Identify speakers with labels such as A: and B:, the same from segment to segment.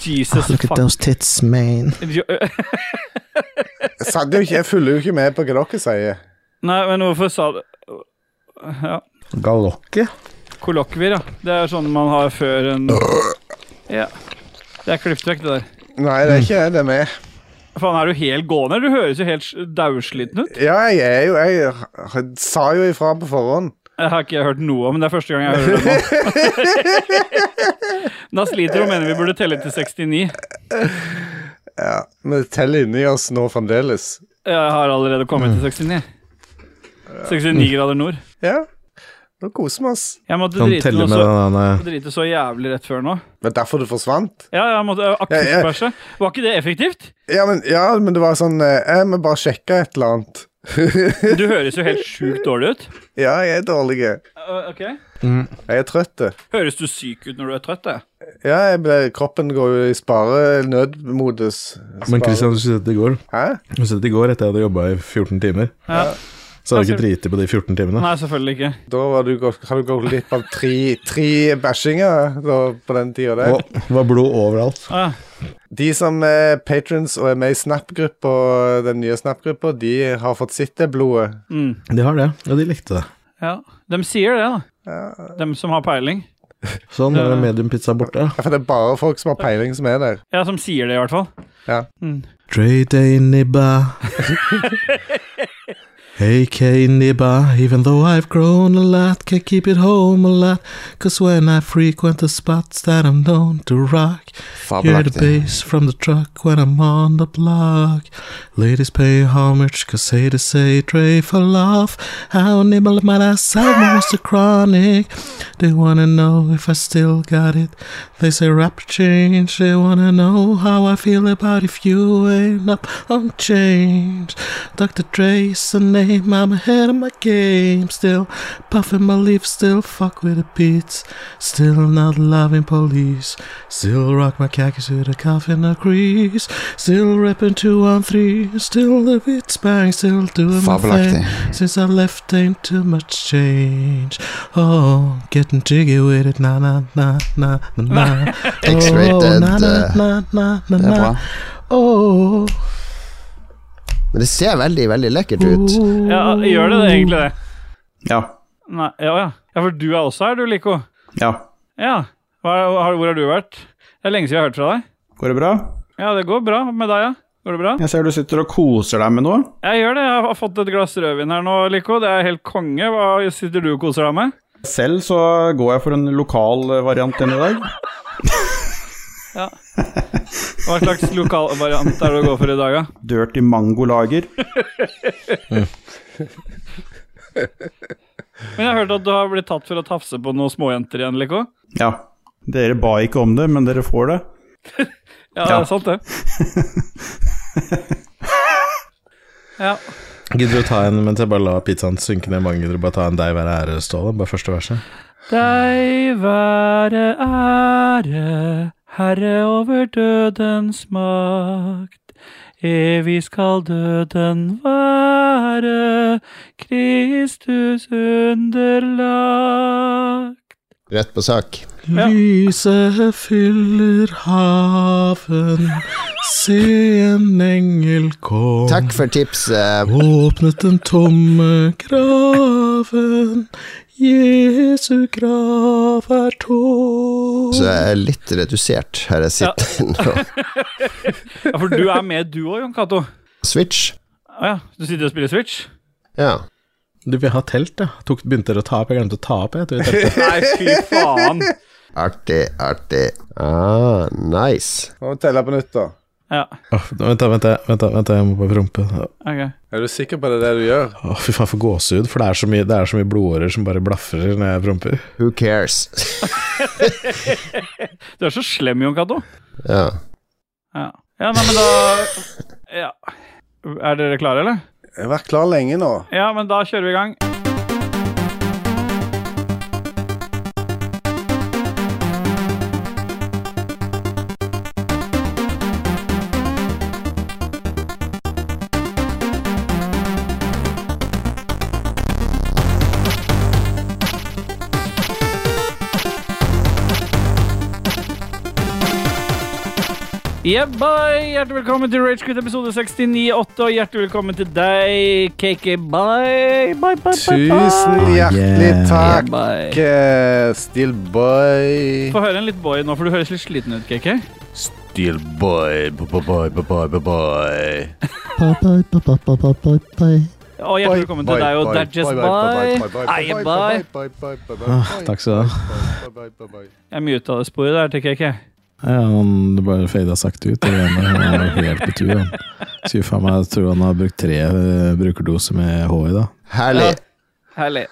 A: Jesus
B: Ah, Look at
A: fuck.
B: those tits, man.
C: Satt jo ikke, jeg følger jo ikke med på hva dere sier.
A: Nei, men hvorfor sa du Ja.
C: Galokke?
A: Kollokvier, ja. Det er sånn man har før en
B: Øh.
A: Ja. Det er klippet vekk, det der.
C: Nei, det er ikke det. Det er meg.
A: Faen, er du helt gående? Du høres jo helt dausliten ut.
C: Ja, jeg er jo Jeg h- sa jo ifra på forhånd.
A: Jeg har ikke hørt noe om det, det er første gang jeg hører det nå. Naslitro mener vi burde telle til 69.
C: Ja, Men det teller inni oss nå fremdeles.
A: Jeg har allerede kommet
B: Mm.
A: til 69. 69 grader nord.
C: Ja. Nå koser vi oss.
A: Jeg måtte
B: Kan
A: drite,
B: telle
A: noe
B: med
A: så,
B: den øh. der
A: drite så jævlig rett før nå.
C: Men derfor du forsvant?
A: Ja, jeg måtte jeg
C: Ja, ja.
A: akuttbæsje. Var ikke det effektivt?
C: Ja, men, ja, men det var sånn eh, Jeg må bare sjekke et eller annet.
A: Du høres jo helt sjukt dårlig ut.
C: Ja, jeg er dårlig. Jeg
A: Eh, ok.
C: er trøtt.
A: Høres du syk ut når du er trøtt? Jeg?
C: Ja, jeg ble, kroppen går jo i spare nødmodus. Spare.
B: Men Christian, du sett i går
C: Hæ?
B: Du sett i går etter jeg hadde jobba i 14 timer.
A: Ja.
B: Så har du ikke driti på de 14 timene.
A: Nei, selvfølgelig ikke.
C: Da var du, gått- har du gått glipp av tre, tre bæsjinger da, på den tida der.
B: Og det var blod overalt.
A: Ah,
C: De som er patrons og er med i Snap-gruppa, den nye Snap-gruppa, de har fått sitt det blodet.
A: mm.
B: De har det, og de likte det.
A: Ja, de sier det, da. Dem som har peiling.
B: Sånn, nå er det mediumpizza borte.
C: Ja, For det er bare folk som har peiling, som er der.
A: Ja, som sier det, i hvert fall.
C: Ja.
A: Mm.
B: Trade nibba. AK nibba, even though I've grown a lot, can keep it home a lot. Cause when I frequent the spots that I'm known to rock, hear the
D: Fabelaktig.
B: bass from the truck when I'm on the block. Ladies pay homage, cause they to say Dre for love. How nibble might I sound was the chronic? They wanna know if I still got it. They say rap change, they wanna know how I feel about if you ain't up on change. Dr. Dre's the name, I'm ahead of my game still. Puffing my leaf, still fuck with the beats. Still not loving police. Still rock my khakis with a cuff and a crease. Still reppin' 213, still the beats bang, still doing my thing.
D: Fabelaktig.
B: Since I left, ain't too much change. Oh, getting jiggy with it, na na na na na na. Oh,
D: X-rated,
B: na, na,
D: eh,
B: na, na, na,
D: Det er bra.
B: na. Oh,
D: Men det ser veldig, veldig lekkert ut.
A: Ja, gjør det det, egentlig det?
E: Ja.
A: Nei, ja, ja. ja, for du er også her, du, Lico.
E: Ja.
A: Ja. Hva, har, hvor har du vært? Det er lenge siden jeg har hørt fra deg.
E: Går det bra?
A: Ja, det går bra med deg, ja. Går det bra?
E: Jeg ser du sitter og koser deg med noe.
A: Jeg gjør det. Jeg har fått et glass rødvin her nå, Lico. Det er helt konge. Hva sitter du og koser deg med?
E: Selv så går jeg for en lokal eh, variant denne dag.
A: Hva slags lokalvariant er det å gå for i dag, da?
E: Dirty Mango Lager.
A: Men jeg har hørt at du har blitt tatt for å tafse på noen småjenter igjen, Lico.
E: Ja. Dere ba ikke om det, men dere får det.
A: Ja, det
E: Ja.
A: er sant, det. ja.
B: Gidder du å ta en mens jeg bare la pizzaen synke ned i magen? Gidder du bare ta en deg være ære, Ståle? Bare første verset.
A: Deg være ære, Herre over dødens makt. Evig skal døden være, Kristus underlagt.
D: Rett på sak.
A: Ja.
B: Lyset fyller haven, se en engel kom.
D: Takk for eh, tipset.
B: Åpnet den tomme graven, Jesu grav er tom.
D: Så jeg er litt redusert her jeg sitter nå.
A: Ja, for du er med du òg, Jon Cato.
D: Switch.
A: Å ja, du sitter og spiller Switch?
D: Ja.
B: Du, vi har telt, ja. Tok, begynte dere å ta opp? Jeg glemte å ta opp, jeg. Tror jeg telte.
A: Nei, fy faen.
D: Artig, artig. Ah, nice.
C: Nå må vi telle på nytt, da.
A: Ja,
B: Åh, vent, da, vent, da, vent, da, vent, da, jeg må bare prompe. Åh,
A: ok.
C: Er du sikker på det, det du gjør?
B: fy faen, for gåsehud. For det er så mye, det er så mye blodårer som bare blafrer når jeg promper.
D: Who cares?
A: Du er så slem, Jon Cato.
D: Ja.
A: Ja. ja, nei, men da Ja. Er dere klare, eller?
C: Jeg har vært klar lenge nå.
A: Ja, men da kjører vi i gang. Yep, bye! Hjertelig velkommen til Ragequit episode 69-8, og hjertelig velkommen til deg, KK. Bye! Bye, bye, bye, bye.
B: Ah,
C: Tusen hjertelig
E: Yeah.
C: takk,
A: Bye.
C: eh, Steelboy.
A: Få høre en litt boy nå, for du høres litt sliten ut, KK.
C: Steelboy, boy, boy, boy, boy.
A: Og hjertelig velkommen til deg og Dadges. Bye! Eie, bye!
C: Ah,
B: Takk skal du ha.
C: ha.
A: Jeg muta det sporet der til KK.
B: Ja, han det bare fada sakte ut. det greiene der. Han er jo helt på tur, han. Skulle faen meg tro han har brukt tre eh, brukerdoser med H i dag.
D: Herlig.
A: Herlig.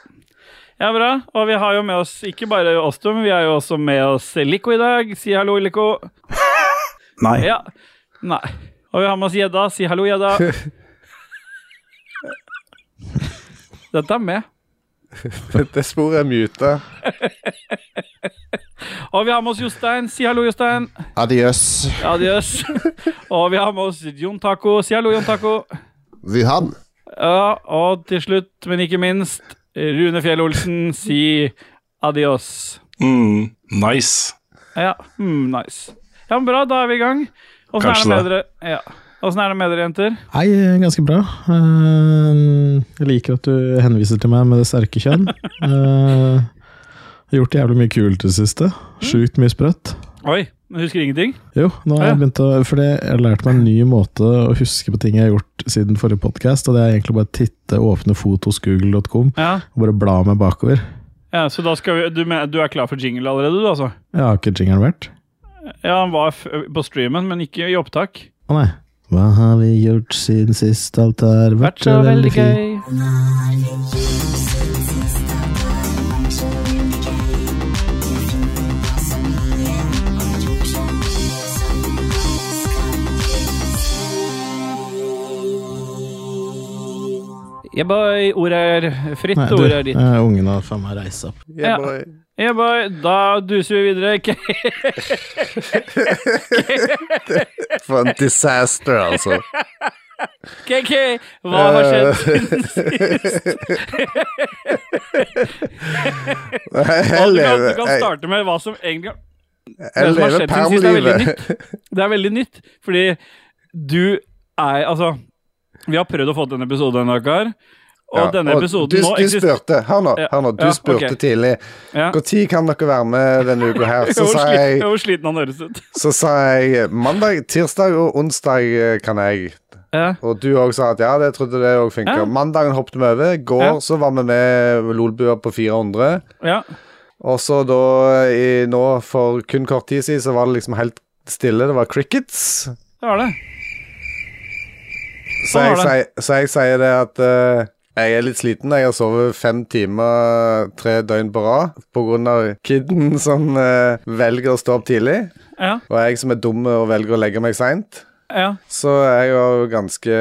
A: Ja, bra. Og vi har jo med oss ikke bare oss to, men vi har jo også med oss Lico i dag. Si hallo, Lico.
E: Nei.
A: Ja. Nei. Og vi har med oss Gjedda. Si hallo, Gjedda. Dette er med.
C: Dette sporet er muta.
A: Og vi har med oss Jostein. Si hallo, Jostein.
D: Adios.
A: Adjøs. Og vi har med oss Jon Taco. Si hallo, Jon Taco.
D: Wuhan.
A: Ja, og til slutt, men ikke minst, Rune Fjell Olsen. Si adios.
F: Mm, nice.
A: Ja, mm, nice. Ja, men bra, da er vi i gang. Åssen er det
F: Kanskje
A: med dere? Ja. Åssen er det med dere, jenter?
B: Nei, eh, ganske bra. Eh, Jeg liker at du henviser til meg med det sterke kjønn. Eh, Jeg har gjort jævlig mye kult i det siste. Sjukt mye sprøtt.
A: Oi, men husker ingenting?
B: Jo, nå har jeg begynt å Fordi jeg har lært meg en ny måte å huske på ting jeg har gjort siden forrige podkast, og det er egentlig bare titte, åpne fotosgoogle.com
A: Ja,
B: og bare bla meg bakover.
A: ja Så da skal vi du, men- du er klar for jingle allerede, du, altså?
B: Jeg har ikke jingeren vært.
A: Ja, han var f på streamen, men ikke i opptak.
B: Å nei. Hva har vi gjort siden sist alt har vært så veldig gøy?
A: Yeah, boy. Ordet er fritt,
B: Nei,
A: og
B: du,
A: ordet er ditt.
B: eh, ungen har faen meg reist seg opp.
A: Ja.
C: Yeah, boy.
A: Yeah, boy. Da duser vi videre. K
C: For en disaster, altså.
A: KK, hva
B: Eh,
A: har skjedd siden sist?
C: Jeg
A: Og Du kan, du
C: lever,
A: kan
C: jeg,
A: starte med hva som egentlig
C: jeg
A: Det som har
C: lever
A: skjedd siden sist, er veldig
C: perm-livet.
A: Det er veldig nytt, fordi du er Altså, vi har prøvd å få til en episode denne uka her, og
C: Ja,
A: denne episoden
C: du,
A: nå
C: du
A: eksisterer
C: spurte, hør nå,
A: Ja,
C: hør nå du
A: ja,
C: spurte
A: ok.
C: tidlig
A: ja.
C: Når kan dere være med denne uka her?
A: Jeg
C: Så
A: var
C: sa
A: sli- jeg
C: jeg,
A: var sliten han høres ut.
C: så sa jeg mandag, tirsdag og onsdag eh, kan jeg.
A: Ja.
C: Og du òg sa at ja, det trodde det òg funka.
A: Ja.
C: Mandagen hoppet vi over. I går
A: Ja.
C: så var vi med Lolbua på 400.
A: Ja.
C: Og så da i, nå for kun kort tid siden så var det liksom helt stille. Det var crickets.
A: Det var det.
C: Så
A: Hva
C: jeg,
A: var
C: sier- så jeg sier det at eh, jeg er litt sliten. Jeg har sovet fem timer tre døgn på rad pga. kidden som eh, velger å stå opp tidlig.
A: Ja.
C: Og jeg som er dum og velger å legge meg seint.
A: ja.
C: Så jeg var jo ganske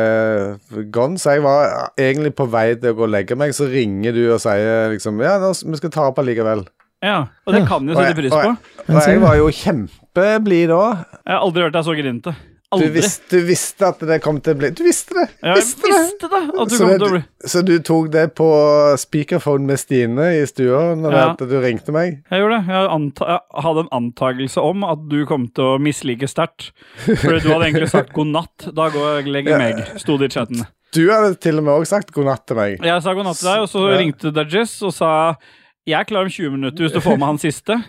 C: eh, gone. Så jeg var egentlig på vei til å gå og legge meg, så ringer du og sier liksom Ja, nå, s- vi skal ta opp allikevel.
A: ja. Og det kan jo
C: Og jeg-
A: sette pris
C: og
A: på.
C: jeg- Og jeg var jo kjempeblid da.
A: Jeg har aldri hørt deg så grinete.
C: Du
A: Aldri.
C: visste, du visste at det kom til å bli Du visste det!
A: Ja, jeg
C: Visste det!
A: visste det! At du
C: Så,
A: kom
C: det,
A: til å bli
C: du- så du tok det på speakerphone med Stine i stua når
A: Ja.
C: at du ringte meg?
A: Jeg gjorde det. Jeg, anta jeg hadde en antakelse om at du kom til å mislike sterkt. For du hadde egentlig sagt god natt. Da går jeg og legger meg, sto det i chatten.
C: Du hadde til og med òg sagt god natt til meg.
A: Jeg sa god natt til deg, og så
C: Ja.
A: ringte Dajis og sa jeg er klar om 20 minutter hvis du får med han siste.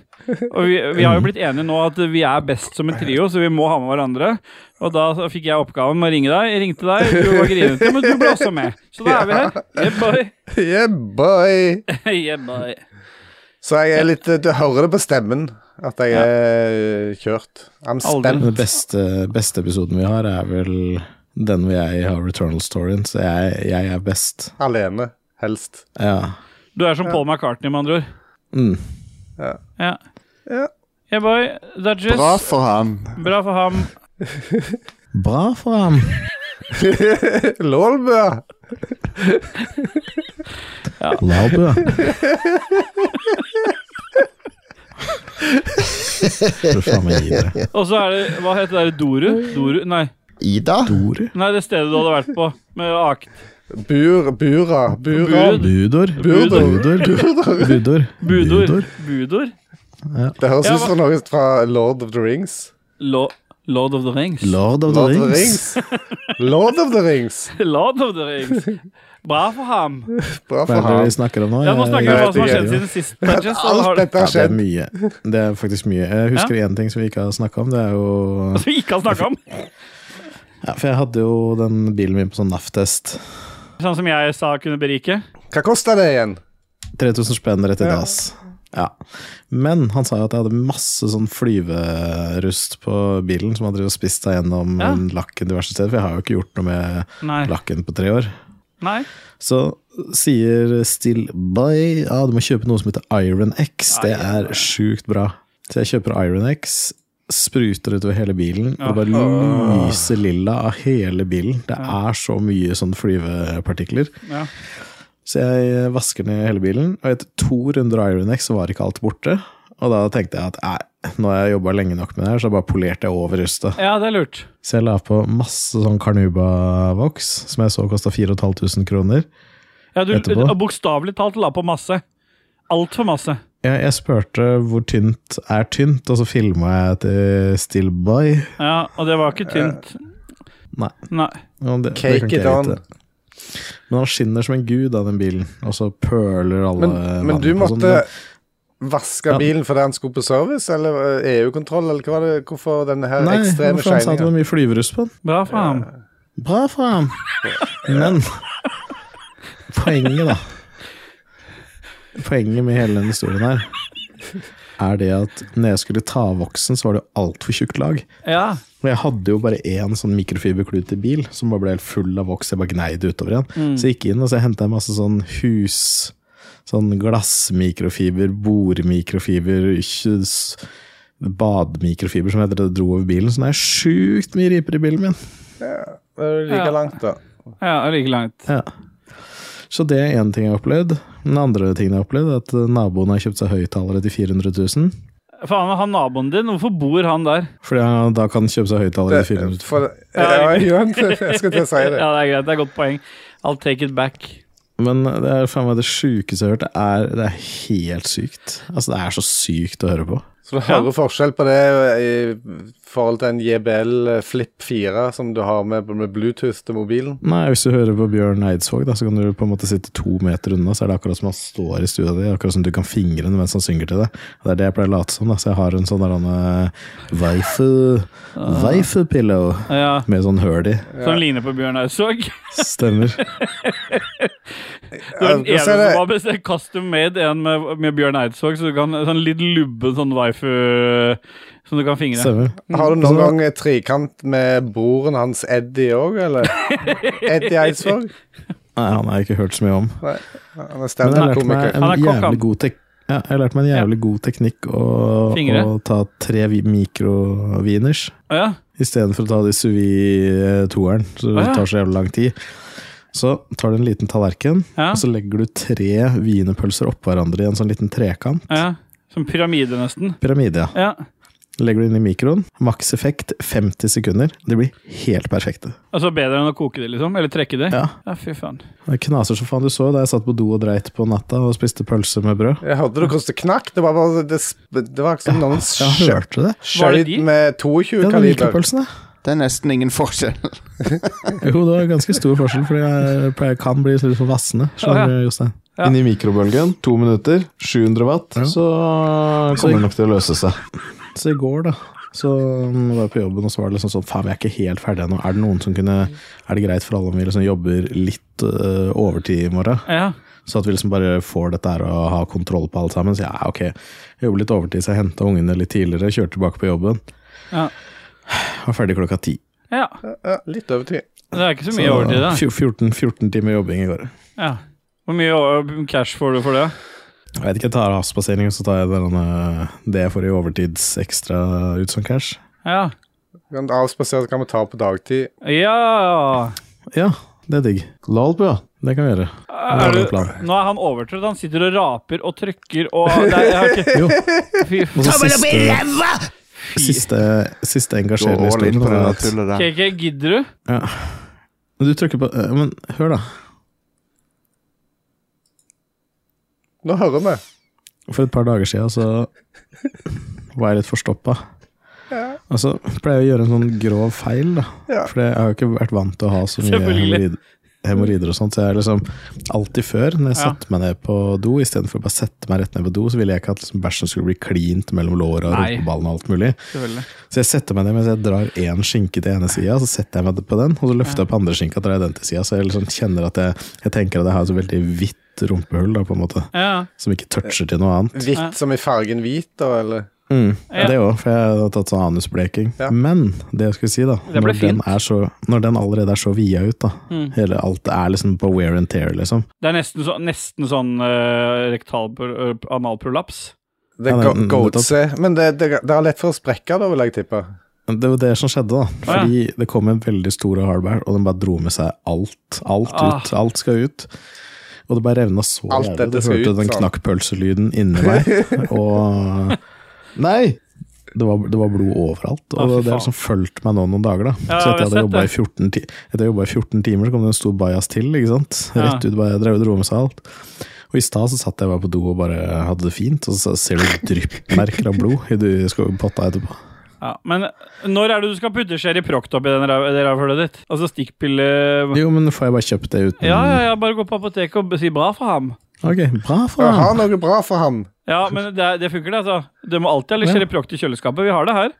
A: Og vi, vi har jo blitt enige nå at vi er best som en trio, så vi må ha med hverandre. Og da fikk jeg oppgaven med å ringe deg. Jeg ringte deg, du var grinete, men du ble også med. Så da er vi her. Yeah, boy.
C: Yeah, boy!
A: Yeah, boy.
C: Så jeg er litt Du hører det på stemmen at jeg er kjørt. I'm
A: Aldri.
C: spent.
B: Den beste, beste episoden vi har, er vel den hvor jeg har Returnal Storyen, så jeg, jeg er best.
C: Alene, helst.
B: Ja.
A: Du er som Paul McCartney, med andre ord.
B: Mm.
A: Ja.
C: Ja.
A: Yeah, boy. Dajis.
D: Bra for han.
A: Bra for ham.
B: Bra for ham!
C: Lolbø!
B: Labu. Får faen meg gi dere.
A: Og så er det Hva heter det? Doru? Doru? Nei.
D: Ida?
A: Nei, det stedet du hadde vært på med akt.
C: Bur, bura, bura.
A: Bud.
B: Budor.
A: Budor.
B: Budor. Budor.
A: Budor. Budor?
C: Det høres
A: Ja,
C: ut som noe fra Lord of the Rings.
A: Lå Lord of the Rings.
G: Lord of the
C: Lord of the
G: Rings.
C: Rings. Lord of the Rings.
A: Lord of the Rings. Bra for ham.
C: Bra
G: Hva
C: for
G: er det vi
C: ham.
G: snakker om nå?
A: Ja, nå
G: Jeg-
A: snakker vi om hva som har
C: jeg-
A: skjedd siden sist. Patches, og
C: Alt
A: har,
C: dette
G: Ja,
C: har
G: det er
C: skjedd.
G: mye. Det er faktisk mye. Jeg husker én ting som vi ikke har snakka om. Det er jo
A: som vi ikke har snakka om.
G: ja, For jeg hadde jo den bilen min på sånn NAF-test.
A: Sånn som jeg sa kunne berike.
C: Hva kosta det igjen?
G: 3000 spenn rett i dass. Ja. Men han sa jo at jeg hadde masse sånn flyverust på bilen som hadde drevet og spist seg gjennom
A: Ja.
G: lakken diverse steder, for jeg har jo ikke gjort noe med
A: Nei.
G: lakken på tre år.
A: Nei.
G: Så sier Still By ja, du må kjøpe noe som heter Iron X. Det er sjukt bra. Så jeg kjøper Iron X, spruter utover hele bilen, og det bare lyser lilla av hele bilen. Det er så mye sånn flyvepartikler.
A: Ja.
G: Så jeg eh, vasker ned hele bilen, og etter to runder Iron X så var ikke alt borte. Og da tenkte jeg at nei, nå har jeg jobba lenge nok med det her, så bare polerte jeg over rustet.
A: Ja, det er lurt.
G: Så jeg la på masse sånn Carnuba-voks, som jeg så kosta 4500 kroner.
A: Ja, du
G: Etterpå.
A: og bokstavelig talt la på masse. Altfor masse.
G: Jeg, jeg spurte hvor tynt er tynt, og så filma jeg til Still By.
A: Ja, og det var ikke tynt.
G: Nei.
A: Nei.
G: Og det,
C: Cake
G: det kan ikke
C: it
G: jeg
C: on.
G: vite. Men han skinner som en gud av den bilen, og så pøler alle
C: Men, men
G: vann
C: du
G: på sånn.
C: måtte vaske
G: Ja.
C: bilen fordi han skulle på service, eller eh, EU-kontroll, eller hva var det? Hvorfor denne her
G: Nei,
C: eh, ekstreme
G: hvorfor han sa at det
C: shininga?
G: var mye flyverust på den?
A: Bra for ham.
G: Bra for ham. Men poenget, da Poenget med hele denne historien her er det at når jeg skulle ta av voksen, så var det altfor tjukt lag.
A: Ja.
G: Og jeg hadde jo bare én sånn mikrofiberklut til bil, som bare ble helt full av voks. Jeg bare gnei det utover igjen. Så jeg gikk inn og så henta masse sånn hus... Sånn glassmikrofiber, bordmikrofiber, ikke s- bademikrofiber som jeg dro over bilen. Så det er sjukt mye riper i bilen min.
C: Like
A: Ja.
C: langt, da.
A: ja, like langt.
G: Ja. Så det er én ting jeg har opplevd. Den andre tingen jeg har opplevd, er at naboen har kjøpt seg høyttalere til 400 000.
A: Faen, han naboen din, hvorfor bor han der?
G: Fordi han da kan kjøpe seg høyttalere til 400 000.
C: For, ja, igjen, jeg skulle til å si det.
A: Ja, det er greit. Det er godt poeng. I'll take it back.
G: Men det er faen meg det sjukeste jeg har hørt. Det er, det er helt sykt. Altså, det er så sykt å høre på.
C: Så du hører forskjell på det i forhold til en JBL eh, Flip 4 som du har med, med Bluetooth til mobilen?
G: Nei, hvis du hører på Bjørn Eidsvåg, da, så kan du på en måte sitte to meter unna, så er det akkurat som han står i stua di, akkurat som du kan fingre den mens han synger til deg. Det er det jeg pleier å late som, da. Så jeg har en sånn der han, eh, waifu, waifu-pillow
A: Ja,
G: med sånn høl i.
A: Som ligner på Bjørn Eidsvåg.
G: Stemmer.
A: Du er den
C: Ja,
A: eneste
C: Eh, så er
A: som
C: det-
A: har bestilt custom made en med, med Bjørn Eidsvåg, så du kan sånn litt lubben sånn waifu som du kan fingre.
G: Stemmer.
C: Har du noen gang eh, trikant med broren hans Eddie òg, eller? Eddie Eidsvåg?
G: Nei, han har jeg ikke hørt så mye om.
C: Nei, han er
G: Men jeg lærte meg
C: standup-komiker.
G: en
A: Han er kokk, han.
G: jævlig god tek ja, jeg lærte meg en jævlig god teknikk å,
A: Fingre.
G: å ta tre vi- mikroviners
A: Å ja.
G: istedenfor å ta de sous vide-toeren, så det
A: Ah, ja.
G: tar så jævlig lang tid. Så tar du en liten tallerken,
A: Ja.
G: og så legger du tre wienerpølser oppå hverandre i en sånn liten trekant.
A: ja. Som pyramide, nesten.
G: Pyramide, ja.
A: Ja.
G: Legger du inn i mikroen. Maks effekt 50 sekunder. De blir helt perfekte.
A: Altså bedre enn å koke det, liksom? Eller trekke det?
G: Ja.
A: Ja, fy faen.
G: Det knaser så faen. Du så da jeg satt på do og dreit på natta og spiste pølse med brød.
C: Jeg hørte du koste knakk. Det var bare det, sp- det var ikke som noen
G: Jeg
C: skjøt
G: hørte det.
A: Var det
C: skjøt
A: de?
C: med
G: Ja,
C: 22
G: det var
C: kaliber.
G: mikropølsene.
E: Det er nesten ingen forskjell.
G: Jo, det var ganske stor forskjell, for jeg pleier, kan bli litt for vassende. Skjønner du, Jostein?
A: Ja.
H: Inn i mikrobølgen, to minutter, 700 watt, så kommer det nok til å løse seg.
G: Så i går, da, så um, var jeg på jobben, og så var det liksom sånn Faen, vi er ikke helt ferdige ennå. Er det noen som kunne Er det greit for alle om vi liksom jobber litt øh, overtid i morgen?
A: Ja.
G: Så at vi liksom bare får dette her og har kontroll på alt sammen. Så ja, ok, jeg jobber litt overtid, så jeg henta ungene litt tidligere, kjørte tilbake på jobben.
A: Ja.
G: Var ferdig klokka ti.
A: ja.
C: Ja, litt overtid.
A: Det er ikke så
G: Så
A: mye overtid, da.
G: fjo- 14, 14 timer jobbing i går.
A: Ja. Hvor mye over- cash får du for det?
G: Jeg vet ikke, jeg tar havspassering, og så tar jeg denne, det jeg får i overtidsekstra ut som cash.
A: Ja.
C: Kan avspasere, så kan vi ta på dagtid.
A: Ja
G: Ja, det er digg.
H: La alt på, ja.
G: Det kan vi gjøre. Det
A: er
G: er
A: du,
G: en plan.
A: Nå er han overtrøtt. Han sitter og raper og trykker og det er, jeg har ikke,
G: Jo,
A: Fy
G: og så
A: faen.
G: siste, siste, siste engasjerende
E: Dårlig
G: historien
E: på
G: var
E: det
G: at
E: tullet der.
A: KK, gidder du?
G: Du trykker på eh, Men hør, da.
C: Nå hører vi.
G: For et par dager siden så var jeg litt forstoppa. Og Altså, jeg pleier å gjøre en sånn grov feil, da.
C: Ja.
G: For jeg har jo ikke vært vant til å ha så mye
A: Selvfølgelig.
G: hemoroid- hemoroider og sånt. Så jeg er liksom alltid før, når jeg
A: Ja.
G: satte meg ned på do, istedenfor å bare sette meg rett ned på do, så ville jeg ikke at liksom, bæsjen skulle bli klint mellom låra og
A: Nei.
G: rumpeballene og alt mulig.
A: Selvfølgelig.
G: Så jeg setter meg ned mens jeg drar én skinke til ene sida, så setter jeg meg på den, og så løfter jeg opp andre skinka og drar den til sida, så jeg liksom kjenner at jeg, jeg tenker at jeg har et så veldig hvitt rumpehull, da, på en måte,
A: Ja.
G: som ikke toucher til noe annet.
C: Hvitt som i fargen hvit, da, eller?
G: Mm,
A: Ja.
G: Det òg, for jeg har tatt sånn anusbleking.
C: Ja.
G: Men det jeg skulle si, da
A: Det ble
G: når den,
A: fint.
G: er så, når den allerede er så vida ut, da
A: Mm.
G: Hele alt er liksom på wear and tear, liksom.
A: Det er nesten, så, nesten sånn eh, rektal pro- eh, analprolaps.
C: Det
G: Ja,
C: go-
G: den-
C: goats er Men det, det, det er lett for å sprekke, da, vil jeg tippe.
G: Det var det som skjedde, da.
A: Å, ja.
G: Fordi det kom en veldig stor og hard bær, og den bare dro med seg alt. Alt
A: Ah.
G: ut. Alt skal ut. Og det bare revna så
C: Alt
G: jævlig. Du
C: dette skal
G: hørte
C: ut, sånn.
G: den
C: sa han.
G: knakkpølselyden inni meg. Og Nei! Det var, det var blod overalt, og
A: Å, fy
G: det har
A: faen.
G: liksom fulgt meg nå noen dager. da.
A: Ja,
G: så etter jeg
A: vi
G: hadde
A: har
G: jobba i,
A: sett
G: 14 ti- etter jeg jobbet i 14 timer, så kom det en stor bajas til. ikke sant?
A: Ja.
G: Rett ut, bare jeg drev og dro med seg alt. Og i stad så satt jeg bare på do og bare hadde det fint, og så ser du dryppmerker av blod i du skal potta etterpå.
A: Ja, men når er det du skal putte Sherry Proct oppi det rævhullet ditt? Altså stikkpille
G: Jo, men får jeg bare kjøpt det uten
A: Ja, ja, ja, bare gå på apoteket og si bra for ham.
G: Ok, bra for
C: Jeg
G: deg.
C: har noe bra for ham.
A: Ja, men det, er- det funker, det. altså. Du må alltid ha litt
G: Ja.
A: Sherry Proct i kjøleskapet. Vi har det her.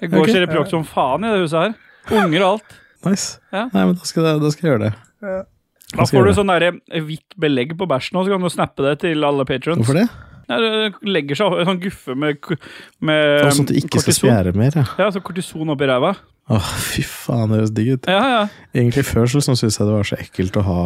A: Det går
G: Ok.
A: Sherry Proct som faen i det huset her. Unger og alt.
G: Nice.
A: Ja.
G: Nei, men da skal, jeg, da skal jeg gjøre det.
A: Da
G: Jeg skal
A: får du
G: gjøre
A: sånn derre hvitt belegg på bæsjen, og så kan du snappe det til alle patrons.
G: Hvorfor det?
A: Ja, det legger seg en sånn guffe med, k- med
G: Og sånn at du ikke skal
A: kortison.
G: spjære mer, ja.
A: Ja, så kortison oppi ræva.
G: Åh, fy faen, det høres digg ut.
A: Ja, ja.
G: Egentlig før så liksom syntes jeg det var så ekkelt å ha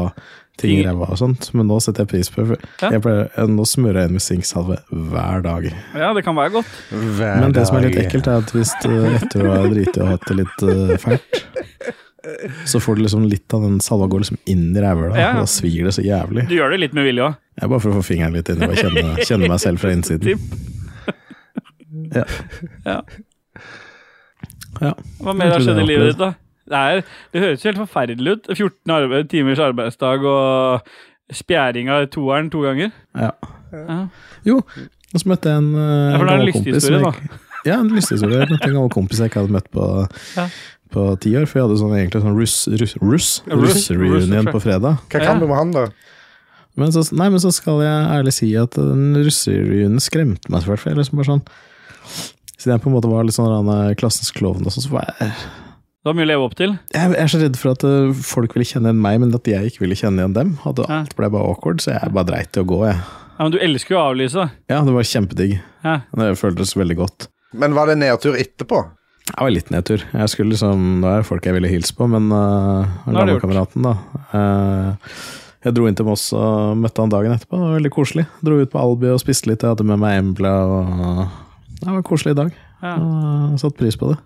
G: ting i
A: Ting-
G: ræva og sånt, men nå setter jeg pris på det. for
A: Ja.
G: Jeg pleier, jeg- nå smører jeg inn med sinksalve hver dag.
A: ja, det kan være godt.
C: Hver
G: Men det som er litt
C: dag.
G: ekkelt, er at hvis du etter å ha driti og hatt det litt eh, fælt, så får du liksom litt av den salva går liksom inn i rævhøla,
A: Ja, ja.
G: og da svir det så jævlig.
A: Du gjør det litt med vilje òg.
G: Jeg er bare for å få fingeren litt inn og bare kjenne, kjenne meg selv fra innsiden. Ja.
A: Ja.
G: Ja.
A: Hva mer har skjedd i livet ditt, da? Det, er, det høres jo helt forferdelig ut. 14 arbeid, timers arbeidsdag og spjæring av toeren to ganger.
G: Ja.
A: Ja.
G: Jo, og så møtte jeg en uh,
A: Ja, for det er en
G: gammel kompis. som
A: lysthistorie,
G: jeg- Ja, en lysthistorie. Jeg møtte en gammel kompis jeg ikke hadde møtt på
A: Ja.
G: på ti år. For vi hadde sånn, egentlig sånn russ, russ, russ,
A: russ-
G: russereunion på fredag.
C: Hva kan du med han, da?
G: Men så, nei, men så skal jeg ærlig si at den russereunionen skremte meg så fælt. For jeg liksom bare sånn Siden jeg på en måte var litt sånn han er klassens klovn, og sånn, så var jeg
A: Det var mye å leve opp til.
G: jeg jeg er så redd for at eh, folk ville kjenne igjen meg, men at jeg ikke ville kjenne igjen dem. At
A: Ja.
G: alt ble bare awkward, så jeg bare dreit i å gå, jeg.
A: Ja, Men du elsker jo å avlyse.
G: Ja, det var kjempedigg.
A: Ja.
G: Det føltes veldig godt.
C: Men var det nedtur etterpå?
G: Jeg var litt nedtur. Jeg skulle liksom, Det var folk jeg ville hilse på, men uh,
A: Nå er det gjort.
G: gamlekameraten, da eh, Jeg dro inn til Moss og møtte han dagen etterpå. Det var veldig koselig. Dro ut på Albi og spiste litt. Jeg hadde med meg Embla. og Det var en koselig dag.
A: Ja.
G: Jeg satte pris på det.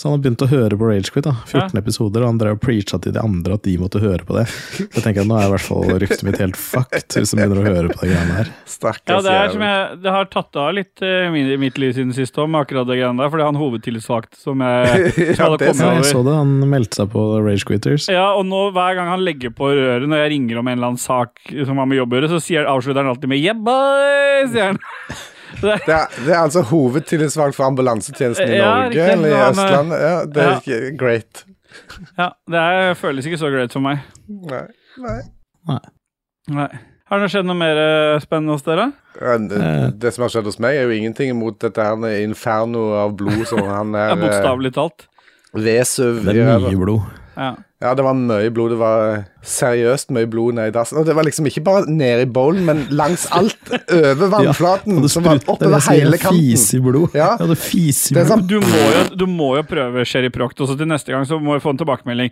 G: Så han har begynt å høre på Ragequit. 14 episoder, og han drev og preacha til de andre at de måtte høre på det. Så jeg tenker at nå er i hvert fall ryktet mitt helt fucked, hvis de begynner å høre på de greiene her.
A: Ja,
C: Stakkars
A: det, er som
C: jævel.
A: jeg, det har tatt av litt eh, min- i mitt liv siden sist om akkurat det greiene der, fordi han hovedtilsvakt som jeg som
C: Ja,
A: hadde
C: det
A: kommet
G: Ja, jeg
A: over.
G: så det. Han meldte seg på Ragequitters.
A: Ja, og nå hver gang han legger på røret når jeg ringer om en eller annen sak som har med jobb å gjøre, så sier, avslutter han alltid med 'yeah, boy', sier han.
C: Det er, det er altså hovedtillitsvalgt for ambulansetjenesten i
A: Ja,
C: Norge,
A: riktig.
C: eller i
A: Han er-
C: Østlandet. Ja, det er ikke great.
A: Ja, det er, føles ikke så greit for meg.
C: Nei. Nei.
A: Nei. Har det skjedd noe mer eh, spennende hos dere?
C: Ja, Det,
G: Eh.
C: det som har skjedd hos meg, er jo ingenting imot dette her med inferno av blod som han
A: Ja,
C: er eh,
A: Bokstavelig talt.
C: Vesuv
G: Det
C: gjør.
G: er mye blod.
A: Ja.
C: Ja, det var mye blod. Det var seriøst mye blod nede i dassen. Og det var liksom ikke bare nede i bowlen, men langs alt over vannflaten.
G: Ja, og det
C: som var
G: sprut- det
C: oppover
G: vil si
C: hele
G: jeg Fis
C: kanten.
G: i blod.
C: Ja.
G: Ja, det fis i
C: Det er sånn
A: Du
C: sant.
G: blod.
A: må, jo, du må jo prøve Sherry Proct, og så til neste gang så må vi få en tilbakemelding.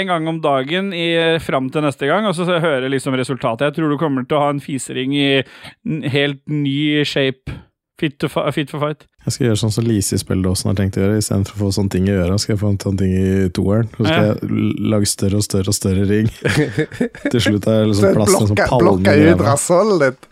A: En gang om dagen i, fram til neste gang, og så hører jeg liksom resultatet. Jeg tror du kommer til å ha en fisering i en helt ny shape. Fit, to fi, fit for fight.
G: Jeg skal gjøre sånn som Lise i spilledåsen har tenkt å gjøre. Istedenfor å få sånne ting i øra, skal jeg få en sånn ting i toeren. Så skal
A: Ja.
G: jeg l- lage større og større og større ring. Til slutt er
C: Så
G: det liksom plassen som
C: blokka,
G: palmen
C: blokka
G: i
C: ut
G: ræva.
C: rassholdet ditt.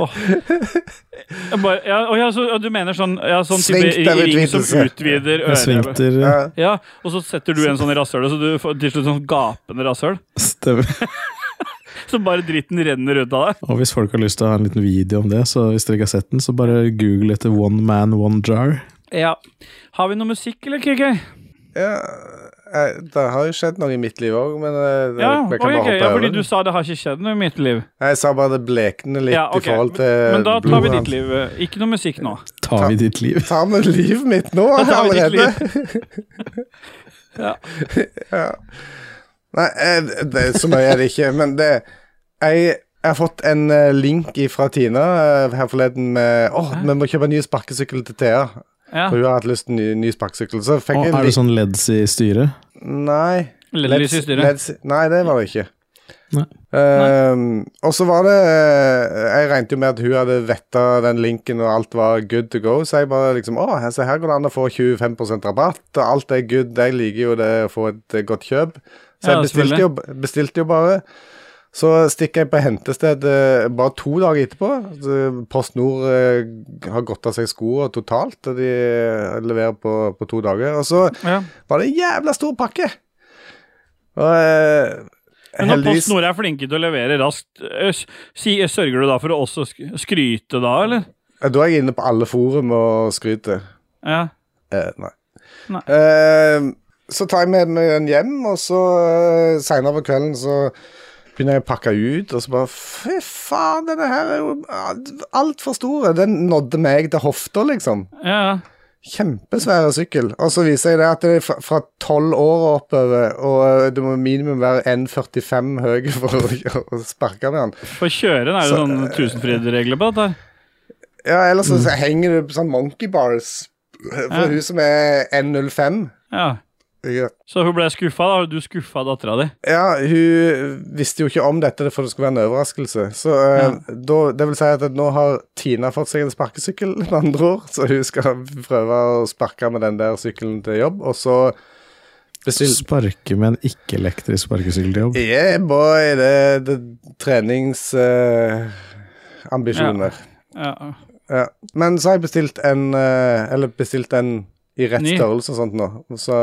A: Åh. Jeg Bare, ja, og ja, så, ja, du mener sånn, ja, sånn type ring som
C: Svinkterutvidelse.
A: utvider
G: Jeg
A: øret?
G: svingter
C: Ja.
A: Ja, og så setter du en sånn i rasshølet, så du får til slutt sånn gapende rasshøl.
G: stemmer.
A: Så bare dritten renner ut av deg.
G: Og hvis folk har lyst til å ha en liten video om det, så hvis dere ikke har sett den, så bare google etter One Man One Jar.
A: Ja. Har vi noe musikk, eller, KK?
C: Ja, eh, det har jo skjedd noe i mitt liv òg, men eh, det-
A: Ja,
C: vi
A: oi, ok, ja, fordi
C: det.
A: du sa det har ikke skjedd noe i mitt liv.
C: Jeg sa bare det blekner litt
A: Ja, ok,
C: i forhold til
A: Men da tar vi
C: blodet
A: ditt
C: hans.
A: liv. Ikke noe musikk nå.
G: Tar vi ditt liv?
C: Tar vi livet mitt nå
A: Da tar vi ditt
C: allerede?
A: Ja.
C: Ja. Nei, eh, det, så mye er det ikke, men det Jeg, jeg har fått en eh, link fra Tina eh, her forleden med Å, vi må kjøpe en ny sparkesykkel til Thea.
A: Ja.
C: For hun har hatt lyst til en ny, ny sparkesykkel. Så fikk
G: Å,
C: jeg en
G: er det
C: link
G: sånn leds i styret?
C: Nei.
A: Lederlys i
C: Leds-
A: styret.
C: leds- Nei, det var det ikke.
G: Nei.
C: Ehm, og så var det eh, Jeg regnet jo med at hun hadde vetta den linken, og alt var good to go, så jeg bare liksom Å, her- se her går det an å få 25 rabatt, og alt er good. Jeg liker jo det å få et eh, godt kjøp.
A: Ja,
C: Så jeg bestilte jo, bestilte jo bare. Så stikker jeg på hentested eh, bare to dager etterpå. Så Post Nord eh, har gått av seg skoene totalt, og de eh, leverer på, på to dager. Og så
A: Ja.
C: var det en jævla stor pakke. Og eh,
A: Men når
C: heldigvis
A: Post Nord er flinke til å levere raskt, ø, s- si, sørger du da for å også sk- skryte da, eller?
C: Da er jeg inne på alle forum og skryter.
A: Ja.
C: Eh, nei.
A: Nei.
C: Eh, så tar jeg med meg den hjem, og så eh, seinere på kvelden så begynner jeg å pakke ut, og så bare Fy faen, denne her er jo altfor stor. Den nådde meg til hofta, liksom.
A: ja.
C: Kjempesvære sykkel. Og så viser jeg det at det er fra- fra tolv år og oppover, og eh, du må minimum være 1,45 høy for å, å sparke med den.
A: For kjøren er det
C: Så, eh,
A: sånn tusenfrydregler på dette her.
C: Ja, ellers så, så henger du på sånn monkey bars for
A: Ja.
C: hun som er 1,05.
A: Ja. Så hun ble skuffa, da. Du skuffa dattera di.
C: Ja, hun visste jo ikke om dette for det skulle være en overraskelse. Så eh, da, det vil si at nå har Tina fått seg en sparkesykkel, med andre ord. Så hun skal prøve å sparke med den der sykkelen til jobb, og så bestilte
G: Sparke med en ikke-elektrisk sparkesykkel til jobb?
C: Yeah, boy, det eh, er treningsambisjoner.
A: Ja.
C: Ja. Men så har jeg bestilt en eh, Eller bestilt en i rett
A: Ny.
C: størrelse og sånt nå. Så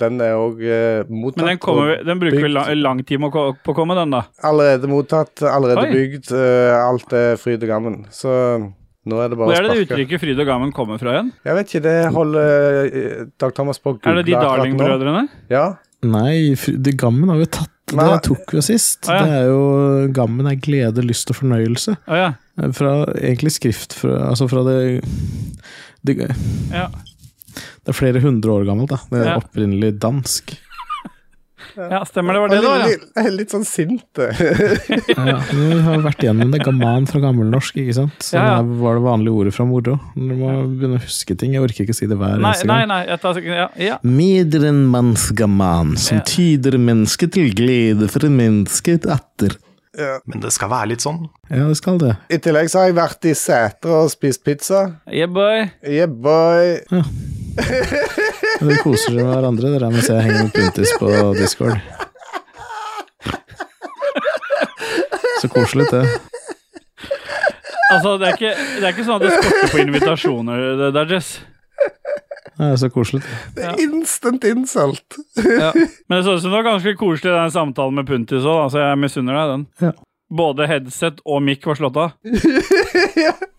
C: den er òg eh, mottatt.
A: Men den, kommer,
C: og
A: den bruker vel lang, lang tid å ko- på å komme, den, da.
C: Allerede mottatt, allerede
A: Oi.
C: bygd. eh, alt er fryd og gammen. Så nå er det
A: Hvor er
C: bare å
A: det det
C: sparke.
A: uttrykket fryd og gammen kommer fra igjen?
C: Jeg vet ikke, det holder eh, Dag Thomas på å
A: Er det de
C: google akkurat nå.
A: Darling-brødrene?
C: Ja.
G: Nei, fr- det gammen har vi tatt. Det
C: Nei.
G: tok vi jo sist.
A: Ah, ja.
G: Det er jo Gammen er glede, lyst og fornøyelse. Eh,
A: Å ja.
G: Fra egentlig skrift fra, Altså fra det det,
A: Ja.
G: det er flere hundre år gammelt, da. Det er
A: Ja.
G: opprinnelig dansk.
A: ja, stemmer det var det
C: Jeg
A: det
C: er
A: var, ja.
C: litt, litt, litt sånn sint. eh.
G: Ja, det har vært igjennom det. Gaman fra gammelnorsk, ikke sant.
C: sånn
G: Så
A: Ja, ja.
G: der var det vanlige ordet fra moro. Du må begynne å huske ting. Jeg orker ikke si det
C: Eh,
G: hver
A: Nei,
G: eneste
A: nei,
G: gang.
A: nei. Jeg tar, ja, ja.
G: Medrenmannsgaman, som
A: Ja.
G: tyder mennesket til glede for mennesket atter.
C: ja.
F: Men det skal være litt sånn.
G: Ja, det skal det.
C: I tillegg så har jeg vært i Sætre og spist pizza.
A: Yeah, boy.
C: Yeah, boy.
G: Dere koser dere med hverandre, dere mens jeg henger med Puntis på Discord. Så koselig, det.
A: Altså, det er, ikke, det er ikke sånn at det skorter på invitasjoner, det der, Jess.
G: Ja, så koselig.
C: Det er instant insult.
A: Men det så ut som det var ganske koselig den samtalen med Puntis òg, så jeg misunner deg den.
G: Ja.
A: Både headset og mic var slått av.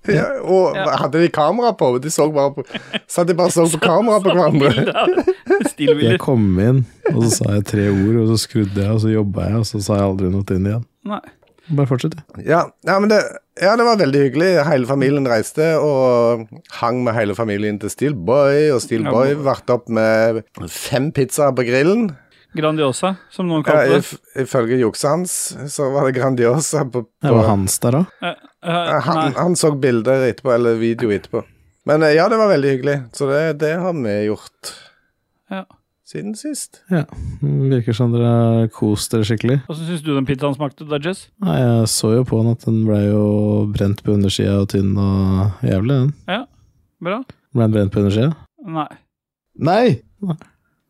C: Ja, og hadde de kamera på? De så bare på Satt de bare og så på kamera på hverandre?
G: Jeg
A: Stillbilder.
G: kom inn, og så sa jeg tre ord, og så skrudde jeg, og så jobba jeg, og så sa jeg aldri noe til den igjen.
A: Nei.
G: Bare fortsett, jeg.
C: Ja, ja, men det, ja, det var veldig hyggelig. Hele familien reiste og hang med hele familien til Steelboy, og Steelboy vart opp med fem pizzaer på grillen.
A: Grandiosa, som noen
C: Ja,
A: kalte det.
C: if- ifølge jukset hans så var det Grandiosa på,
G: Det
C: på
G: var hans der òg.
A: Eh, eh,
C: Ja, han,
A: nei.
C: han så bilder etterpå, eller video etterpå. Men eh, ja, det var veldig hyggelig, så det, det har vi gjort
A: Ja.
C: siden sist.
G: Virker som dere har kost dere skikkelig.
A: Hvordan syns du den pizzaen smakte, da, Jess?
G: Nei, jeg så jo på den at den blei jo brent på undersida og tynn og jævlig, den.
A: Bra?
G: Blei den brent på undersida?
A: Nei.
G: Nei!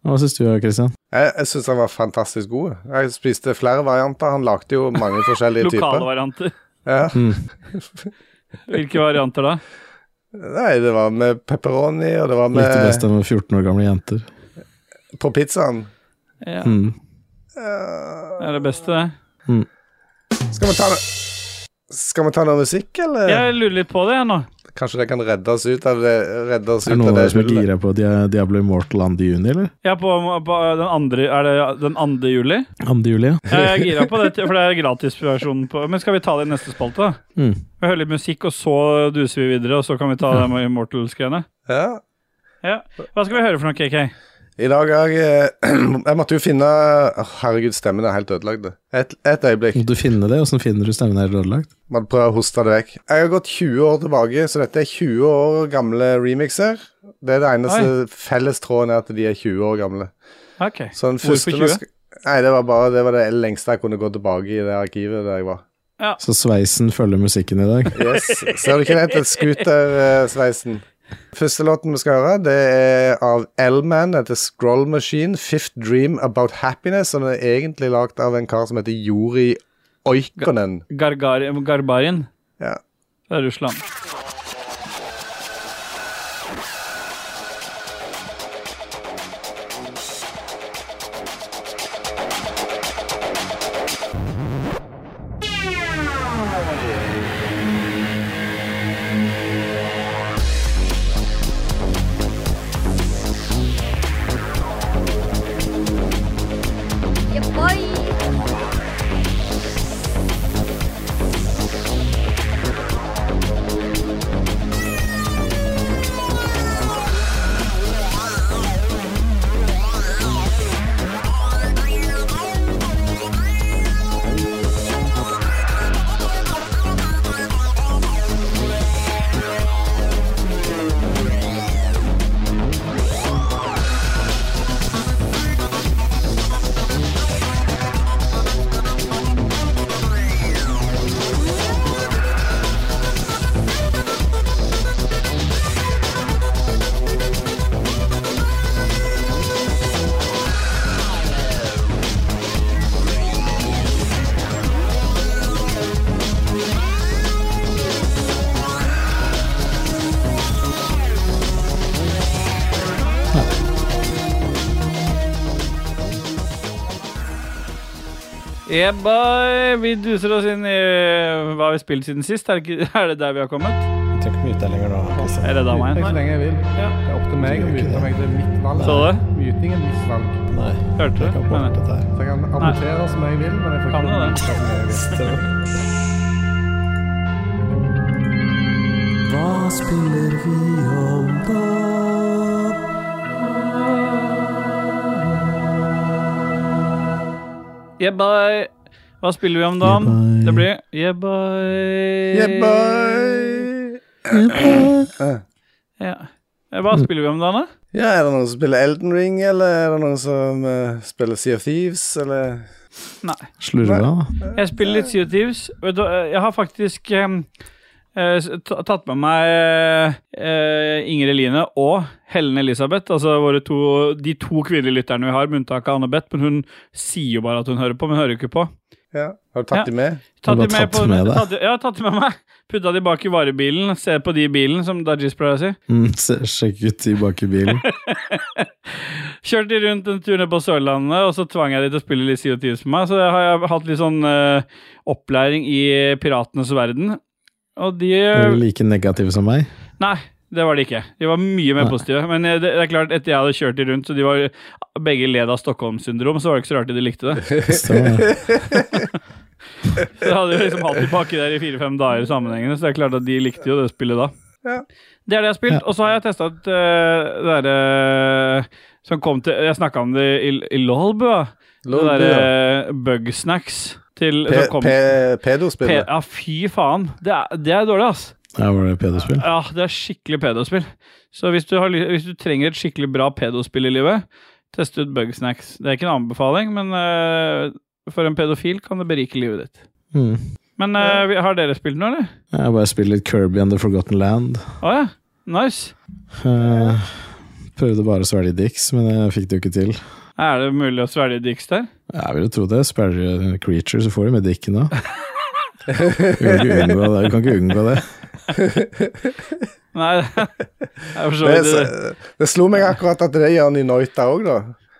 G: Hva syns du, Christian?
C: Jeg, jeg syns han var fantastisk god. Jeg spiste flere varianter. Han lagde jo mange forskjellige
A: Lokale
C: typer.
A: varianter.
C: Ja.
G: Mm.
A: Hvilke varianter da?
C: Nei, det var med pepperoni, og det var
G: Likte best
C: med
G: den med 14 år gamle jenter.
C: på pizzaen.
A: Ja,
G: Mm.
A: det er det beste, det.
C: Skal vi ta no- Skal vi ta noe musikk, eller?
A: Jeg lurer litt på det, jeg nå.
C: Kanskje det kan redde oss ut av det redde oss
G: Er det
C: ut av
G: noen
C: det
G: av dere som er
C: hullet.
G: gira på Dia- Diablo Immortal 2. juni, eller?
A: Ja, på, på den andre Er det den andre juli?
G: 2. juli, ja.
A: Ja, Jeg er gira på det, for det er gratisversjonen på Men skal vi ta det i neste spalte, da?
G: Mm.
A: Vi hører litt musikk, og så duser vi videre, og så kan vi ta det med Immortals-greiene.
C: Ja.
A: Ja. Hva skal vi høre for noe, KK?
C: I dag har jeg Jeg måtte jo finne Å, Herregud, stemmen er helt ødelagd. Et, et øyeblikk.
G: Må du finne det? Åssen finner du stemmen er ødelagt?
C: Man prøver å hoste det vekk. Jeg har gått 20 år tilbake, så dette er 20 år gamle remixer. Det er det eneste fellestråden er at de er 20 år gamle.
A: Ok.
C: Så den
A: Hvorfor
C: første
A: 20?
C: Nei, det var bare det, var det lengste jeg kunne gå tilbake i det arkivet der jeg var.
G: Så sveisen følger musikken i dag.
C: Yes. Ser du ikke det? Det er Scooter-sveisen. Første låten vi skal høre, det er av L-Man. Det heter Scroll Machine. Fifth Dream About Happiness. Og den er egentlig lagd av en kar som heter Jori Oikonen.
A: Gargar Garbarin.
C: Ja.
A: Det er Russland.
I: Yeah, boy.
A: Yeah, boy! Vi duser oss inn i eh, hva har vi spilt siden sist. Er det, ikke- er det der vi har kommet?
G: Tenk mye ut lenger nå. altså.
A: Jeg redda meg.
J: så
A: Nei.
J: lenge jeg vil.
A: Ja.
J: Det er opp til meg å mute meg. Det er mitt valg.
A: Så du?
J: Muting er mitt valg.
G: Nei,
A: Hørte du?
G: jeg kan
A: Men-
G: bort dette her.
J: Så jeg kan abortere som jeg vil, men jeg får ikke
A: Kan du det?
J: mute som jeg vil.
A: Yeah, boy! Hva spiller vi om dagen?
G: Yeah, boy.
A: det blir Yeah, boy!
C: Yeah, boy.
A: Ja. Eh, Hva spiller vi om dagen, da?
C: Ja, er det noen som spiller Elden Ring, eller er det noen som eh, spiller Sea of Thieves, eller
A: Nei.
G: Slurve, da.
A: Jeg spiller litt Sea of Thieves. Vet du, eh, Jeg har faktisk em, eh, s- ta- tatt med meg eh, Inger Eline og Helen Elisabeth, altså våre to, de to kvinnelige lytterne vi har, med unntak av Anne-Beth, men hun sier jo bare at hun hører på, men hører jo ikke på.
C: Ja. Har du tatt
A: Ja.
C: de med?
A: Tatt
G: Har du
A: de med
G: tatt
A: på,
G: med deg?
A: tatt, de- ja, tatt de med meg. Putta de bak i varebilen. Se på de i bilen, som Dajis pleier å si.
G: Mm, se- sjekk ut tilbake i bilen.
A: Kjørte de rundt en tur ned på Sørlandet, og så tvang jeg de til å spille litt CO2 med meg. Så jeg har jeg hatt litt sånn eh, opplæring i piratenes verden. Og de
G: Er du like negativ som meg?
A: Nei, det var de ikke. De var mye mer
G: Nei.
A: positive. Men eh, det, det er klart, etter jeg hadde kjørt de rundt, så de var begge led av Stockholm-syndrom, så var det ikke så rart de likte det.
G: Stemmer det.
A: Så jeg hadde jo liksom hatt de pakke der i fire-fem dager sammenhengende, så det er klart at de likte jo det spillet da. Det er det jeg har spilt. Og så har jeg testa ut eh, det derre som kom til Jeg snakka om det i, i Lolbu, da. Det
C: Lolbu,
A: derre eh, Bugsnacks til
C: Pe
A: som kom-
C: pe-
A: P-
C: Pedo-spillet?
A: Ja, fy faen. Det er, det er dårlig, ass.
G: Ja, var det pedospill?
A: Ja, det er skikkelig pedospill. Så hvis du, har, ly- hvis du trenger et skikkelig bra pedospill i livet, test ut Bugsnacks. Det er ikke en anbefaling, men øh, for en pedofil kan det berike livet ditt.
G: Mm.
A: Men øh, vi- har dere spilt noe, eller?
G: Jeg bare spiller litt Kirby and The Forgotten Land.
A: Å ja. Nice.
G: Eh, prøvde bare å svelge dicks, men jeg fikk det jo ikke til.
A: Er det mulig å svelge dicks der?
G: Jeg vil jo tro det. Sperrer du en creature, så får du med dicken da. Du kan ikke unngå det. Du kan ikke unngå det.
A: Nei, jeg forstår
C: Det,
A: ikke.
C: det, det slo meg akkurat at det gjør han i Noita òg, da.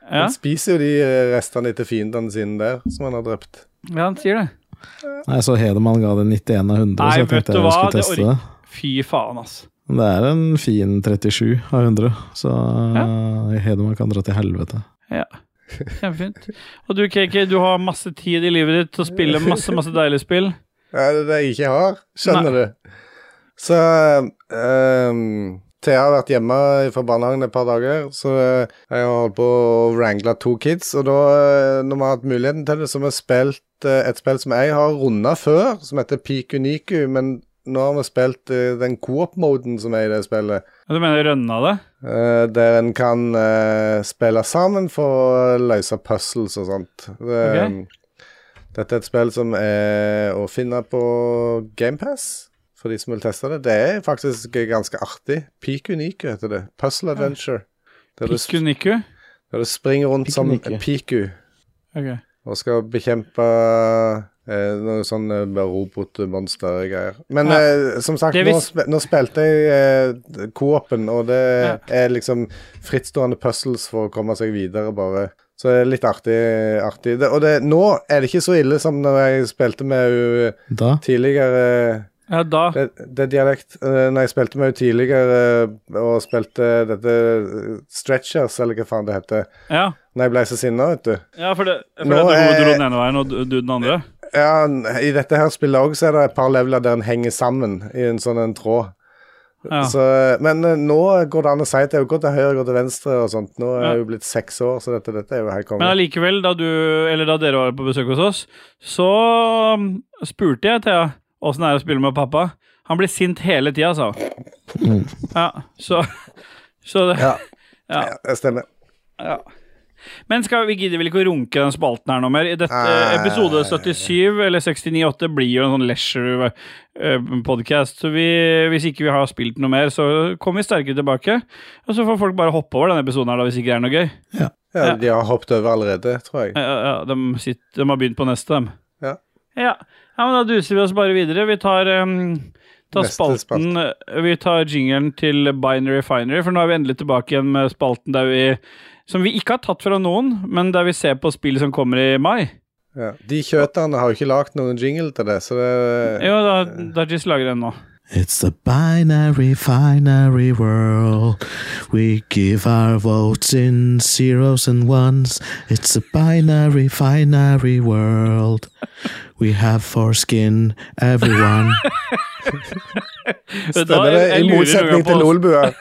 A: Ja,
C: Han spiser jo de eh, restene etter fiendene sine der, som han har drept.
A: ja, han sier det.
G: Nei, så Hedemann ga det 91 av 100,
A: Nei,
G: så jeg
A: vet
G: tenkte
A: du
G: jeg
A: hva,
G: skulle
A: det
G: teste
A: ork-
G: det.
A: Fy faen, ass.
G: Men Det er en fin 37 av 100, så eh, Hedmark kan dra til helvete.
A: Kjempefint. Og du, KK, du har masse tid i livet ditt til å spille masse, masse deilige spill.
C: Ja, det er det jeg ikke har, skjønner du. Så ehm, Thea har vært hjemme fra barnehagen et par dager, så eh, jeg har holdt på å wrangle to kids. Og da, eh, når vi har hatt muligheten til det, så har vi spilt eh, et spill som jeg har runda før, som heter Peak Uniku, men nå har vi spilt eh, den coop-moden som er i det spillet.
A: Du mener rønna det?
C: Eh, der en kan eh, spille sammen for å løse puzzles og sånt. Det,
A: Ok.
C: Dette er et spill som er å finne på GamePass, for de som vil teste det. Det er faktisk ganske artig. Peak Unique heter det. Puzzle Adventure. Der du,
A: Piku Niku?
C: der du springer rundt som
E: Pikuniku.
C: Piku
A: Ok.
C: og skal bekjempe eh, noe sånn eh, robotmonstergreier. Men
A: Ja.
C: eh, som sagt,
A: Det er
C: nå,
A: visst-
C: sp nå spilte jeg eh, co-open, og det er liksom frittstående puzzles for å komme seg videre, bare. Så det er litt artig. artig. Det, og det, nå er det ikke så ille som når jeg spilte med henne
G: Da
C: tidligere.
A: Ja, da
C: Det, det er dialekt. Eh, Når jeg spilte med henne tidligere eh, og spilte dette eh, Stretchers, eller hva faen det heter.
A: Ja,
C: Når jeg ble så sinna, vet du.
A: ja for det, for
C: Nå
A: det at hun
C: er-
A: dro den ene veien, og du du den andre?
C: Ja, n- I dette her spillet òg så er det et par leveler der en henger sammen i en sånn en tråd.
A: Ja.
C: Så, men eh, nå går det an å si at jeg går til høyre, går til venstre og sånt. Nå er
A: Ja.
C: jeg jo blitt seks år, så dette, dette er jo helt
A: Men
C: konge.
A: allikevel, da du, eller da dere var på besøk hos oss, så mm, spurte jeg Thea åssen det er å spille med pappa. Han blir sint hele tida, sa hun. Ja, så, så det, ja.
C: Ja, det stemmer.
A: Ja. Men skal vi gidder vel ikke å runke den spalten her noe mer? I Dette,
C: Nei.
A: episode 77 eller 69-8 blir jo en sånn leisure-podkast. Så vi, hvis ikke vi har spilt noe mer, så kommer vi sterkere tilbake. Og så får folk bare hoppe over denne episoden her da, hvis ikke det er noe gøy.
C: Ja,
A: Ja.
C: De har hoppet over allerede, tror jeg.
A: Ja, ja, ja, de, sitter, de har begynt på neste, dem.
C: Ja.
A: ja. Ja, men da duser vi oss bare videre. Vi tar, um, tar
C: Neste
A: spalten Vi tar jingeren til Binary Finery, for nå er vi endelig tilbake igjen med spalten der vi som vi ikke har tatt fra noen, men der vi ser på spill som kommer i mai.
C: Ja. De kjøterne har jo ikke lagd noen jingle til det, så det
A: Jo, da,
C: Eh.
A: da just lager den nå.
B: It's the binary, binary world. We give our votes in zeros and ones. It's a binary, binary world. We have foreskin, everyone.
A: Da-
C: stemmer det.
A: jeg
C: I
A: lurer noen på
C: motsetning til
A: hvordan-
C: Lolbua.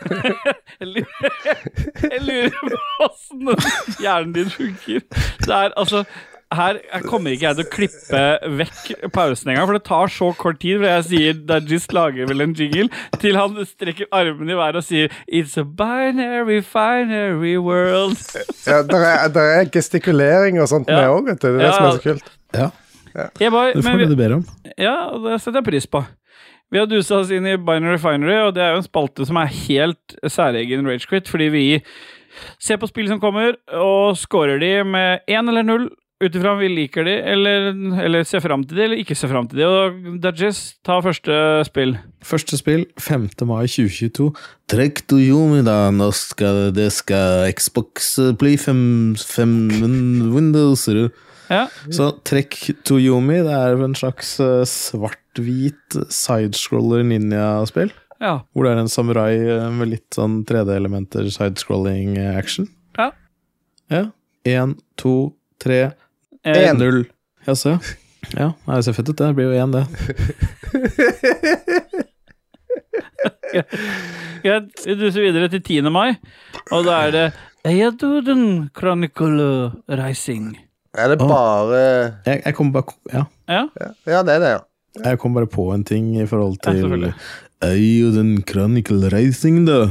A: Jeg lurer, jeg lurer på åssen hjernen din funker. Det er altså her jeg kommer ikke jeg til å klippe vekk pausen engang, for det tar så kort tid. For jeg sier Dajis lager vel en jingle, til han strekker armene i været og sier It's a binary, binary world.
C: Ja, der, er, der er gestikulering og sånt
A: Ja.
C: med òg, vet du. Det er det
A: Ja,
C: som er
A: ja.
C: så kult.
A: Jeg bare,
G: du får
A: men
G: det
A: vi,
G: du ber om.
A: ja, det setter jeg pris på. Vi har dusa oss inn i Binary Finery, og det er jo en spalte som er helt særegen Ragequit, fordi vi ser på spill som kommer, og scorer de med én eller null ut ifra om vi liker de, eller, eller ser fram til de, eller ikke ser fram til de. Og Dudges tar første spill.
G: Første spill 5. mai 2022.
B: Trekk du jomida, nå skal det skal Xbox bli fem, fem Windows.
A: Ja.
G: Så trekk Toyomi, det er jo en slags eh, svart-hvit sidescroller ninja-spill.
A: ja.
G: Hvor det er en samurai eh, med litt sånn 3D-elementer, sidescrolling eh, action.
A: Ja.
G: Ja. Én, to, tre,
A: Eh,
C: En.
G: null. Jaså, ja. Ja, nei, det ser fett ut, det. Det blir jo én, det.
A: greit, vi duser videre til 10. mai, og da er det Eyaduden Chronicle Rising.
C: Er det bare
G: Jeg, jeg kom bare Ja.
A: Ja.
C: Ja, det er det, ja.
G: Jeg kom bare på en ting i forhold
A: Ja,
G: til
A: selvfølgelig.
G: Er jo den Chronicle Racing, da.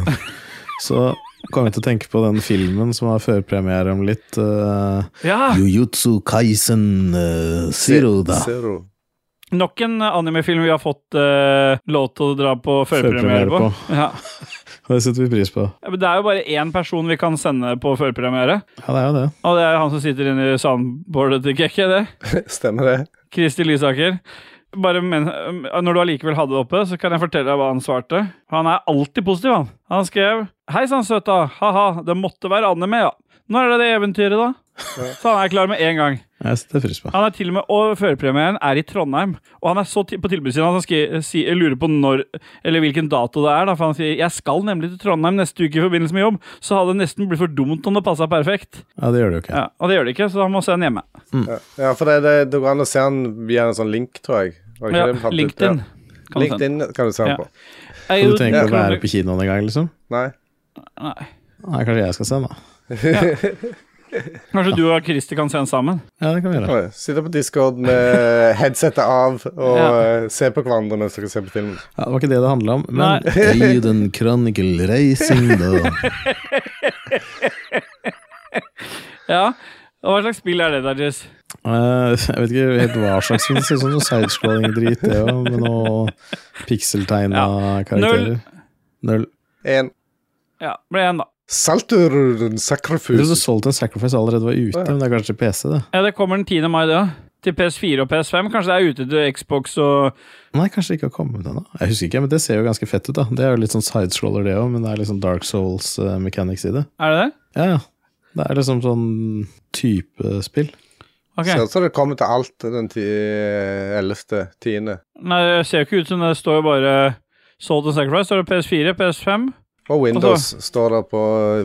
G: Så kom jeg til å tenke på den filmen som har førpremiere om litt. eh,
A: ja.
B: Jujutsu Kaisen eh, Zero, da.
C: Zero.
A: Nok en animefilm vi har fått eh, lov til å dra på førpremiere
G: Førpremiere
A: på.
G: på.
A: Ja.
G: og det setter vi pris på.
A: Ja, men Det er jo bare én person vi kan sende på førpremiere,
G: Ja, det er jo det.
A: og det er han som sitter inne i soundboardet til Kekke, det.
C: Stemmer det.
A: Kristi Lysaker. Bare men, eh, når du allikevel hadde det oppe, så kan jeg fortelle deg hva han svarte. Han er alltid positiv, han. Han skrev Hei sann, søta. Ha-ha. Det måtte være anime, ja. Når er det det eventyret, da? Så han er klar med en gang.
G: Jeg setter pris på.
A: Han er til og med, og Førerpremieren er i Trondheim. Og han er så til, på tilbudssiden at han skri- si, eh, lurer på når, eller hvilken dato det er. Da, for han sier jeg skal nemlig til Trondheim neste uke i forbindelse med jobb. Så hadde det nesten blitt for dumt om det passa perfekt.
G: Ja, det gjør det jo ikke.
A: Ja, og det gjør det ikke, så han må se den hjemme.
C: Ja, for det, det, det går an å se den via en sånn link, tror jeg. Var det ikke
A: Ja,
C: det vi fant ut?
A: LinkedIn.
C: Ja.
A: kan du se den.
C: LinkedIn kan du se
A: Ja.
C: den på.
A: Jeg,
G: Så du trenger ikke å være på kinoen engang, liksom?
C: Nei.
A: Nei.
G: Nei, kanskje jeg skal se den, da.
A: Kanskje du og Christer kan se den sammen?
G: Ja, det kan vi gjøre.
C: Oi, Sitte på Discord med headsetet av og eh, se på hverandre mens dere ser på filmen.
G: Ja, det var ikke det det handla om,
A: Nei.
G: men Aiden Chronicle Racing, da.
A: Ja. Og hva slags spill er det, Dajis?
G: Eh, jeg vet ikke helt hva slags film. Det ser ut som noe sidescrolling-drit, det òg, med noe pikseltegna karakterer. Null.
C: En
A: Ja, ble én, da.
C: Salturn
G: Jeg trodde du
C: sakrafus.
G: solgte en Sacrifice allerede var ute, men det er kanskje til PC, det.
A: Ja, det kommer den 10. mai, det òg. Til PS4 og PS5. Kanskje det er ute til Xbox og
G: Nei, kanskje det ikke har kommet ennå. Jeg husker ikke, men det ser jo ganske fett ut, da. Det er jo litt sånn sidescroller, det òg, men det er liksom Dark Souls eh, mechanics i det.
A: Er det det?
G: Ja, ja. Det er liksom sånn type spill.
A: Ok.
C: Ser ut som det kommer til alt den ti- 11. 10.
A: Nei, det ser jo ikke ut som det står jo bare Sold and Sacrifice. Står det PS4, PS5?
C: På Windows står det på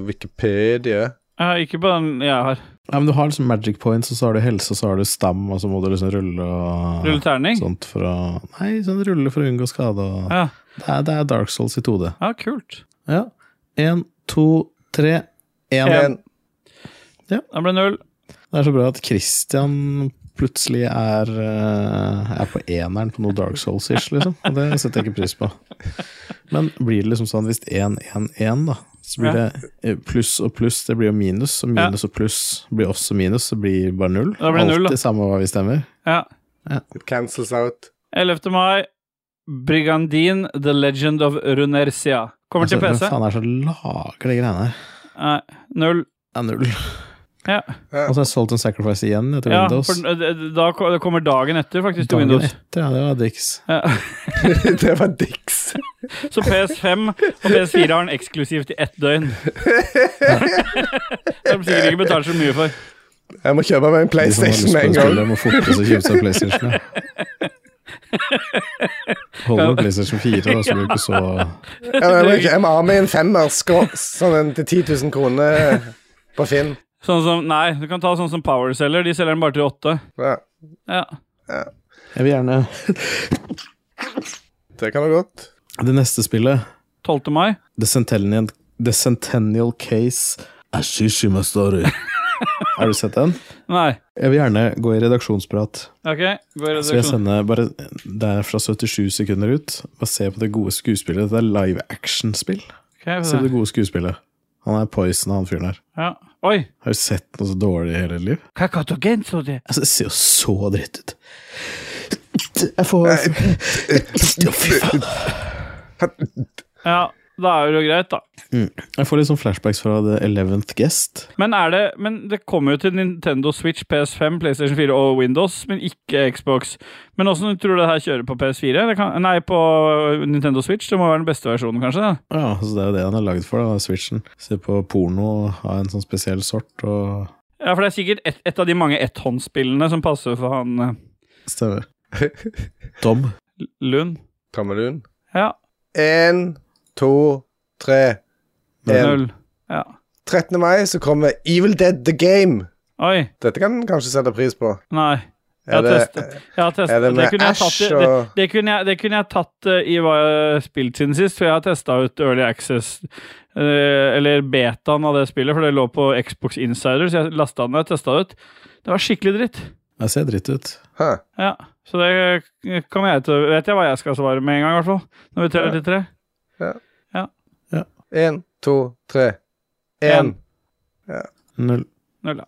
C: Wikipedia.
A: Ja, ikke på den jeg har.
G: Ja, men du har liksom magic points, og så har du helse, og så har du stam, og så må du liksom rulle og
A: Rulle terning.
G: sånt for å Nei, sånn rulle for å unngå skade og
A: Ja.
G: det, er, det er Dark Souls i 2D.
A: ja, kult.
G: Ja. Én, to, tre, én.
C: En.
A: Da ble det null.
G: Det er så bra at Christian plutselig er, eh, er på eneren på noe Dark Souls-ish, liksom. Og det setter jeg ikke pris på. Men blir det liksom sånn hvis 1-1-1, da, så blir
A: Ja.
G: det eh, pluss og pluss, det blir jo minus, og
A: Ja.
G: minus og pluss blir også minus, så blir bare null.
A: Da blir det null, da.
G: Alltid samme hva vi stemmer.
A: Ja.
C: It cancels out.
A: 11. mai. Brigandine, The Legend of Runersia. Kommer til
G: Altså,
A: PC.
G: Hvem faen er det som lager de greiene her?
A: Nei, null.
G: Det er null.
A: Ja.
G: Og så er Salt and Sacrifice igjen etter
A: Ja,
G: Windows.
A: for den- da ko- det kommer dagen etter, faktisk, til
G: Dagen
A: Windows.
G: Etter, ja, det var Dix.
A: Ja.
C: det var Dix.
A: Så PS5 og PS4 har den eksklusivt i ett døgn. Det har de sikkert ikke betalt så mye for.
C: Jeg må kjøpe meg en
G: De som har lyst
C: PlayStation
G: på
C: med en
G: spill,
C: gang.
G: de må forte seg å kjøpe seg PlayStation. Ja. Holder med PlayStation 4, da, så blir det ikke så
C: Ja, men Jeg må, jeg må ha med en femmer, skå- sånn en til 10 000 kroner på Finn.
A: Sånn som, nei, du kan ta sånn som Power selger. De selger den bare til åtte.
C: Ja,
A: Ja.
G: Jeg vil gjerne
C: det kan du godt.
G: Det neste spillet,
A: 12. mai.
G: The Centennial, The Centennial Case Ashishima Story. Har du sett den?
A: Nei.
G: Jeg vil gjerne gå i redaksjonsprat.
A: Ok, gå i
G: Så jeg
A: redaksjon.
G: sender bare Det er fra 77 sekunder ut. Bare se på det gode skuespillet. Det er live action-spill.
A: Ok, vi får
G: Se på det
A: se.
G: gode skuespillet. Han er poison, han fyren her.
A: Ja. Oi!
G: Har du sett noe så dårlig i hele ditt liv? Altså, det ser jo så dritt ut. Jeg får Å, Fy faen.
A: Ja, da er det jo greit, da.
G: Jeg får litt sånn flashbacks fra The Eleventh Guest.
A: Men, er det, men det kommer jo til Nintendo Switch, PS5, PlayStation 4 og Windows, men ikke Xbox. Men åssen tror du det her kjører på PS4? Det kan, nei, på Nintendo Switch. Det må være den beste versjonen, kanskje? Da.
G: Ja, så Det er jo det han er lagd for, da, Switchen. Se på porno av en sånn spesiell sort. og
A: Ja, for det er sikkert et, et av de mange etthåndsspillene som passer for han eh,
G: Stemmer. Tom.
A: Lund.
C: Tommelun.
A: Ja.
C: Én, to, tre. En.
A: Null. Ja.
C: 13. mai så kommer Evil Dead The Game.
A: Oi.
C: Dette kan en kanskje sette pris på.
A: Nei. Jeg
C: Er
A: har
C: det,
A: testet. Jeg har testet.
C: er det
A: Det,
C: med
A: kunne jeg tatt,
C: Ash
A: i- det,
C: og
A: det, kunne jeg, det kunne jeg tatt eh, i hva jeg har spilt siden sist, for jeg har testa ut Early Access, eh, eller betaen av det spillet, for det lå på Xbox Insider, så jeg lasta den og testa det ut. Det var skikkelig dritt.
G: Jeg ser dritt ut.
C: Hæ.
A: Ja, Så det eh, kommer jeg til Vet jeg hva jeg skal svare med en gang, i hvert fall. Når vi teller til tre.
C: Én, to, tre.
A: En.
C: Én.
G: Null.
A: Null, ja.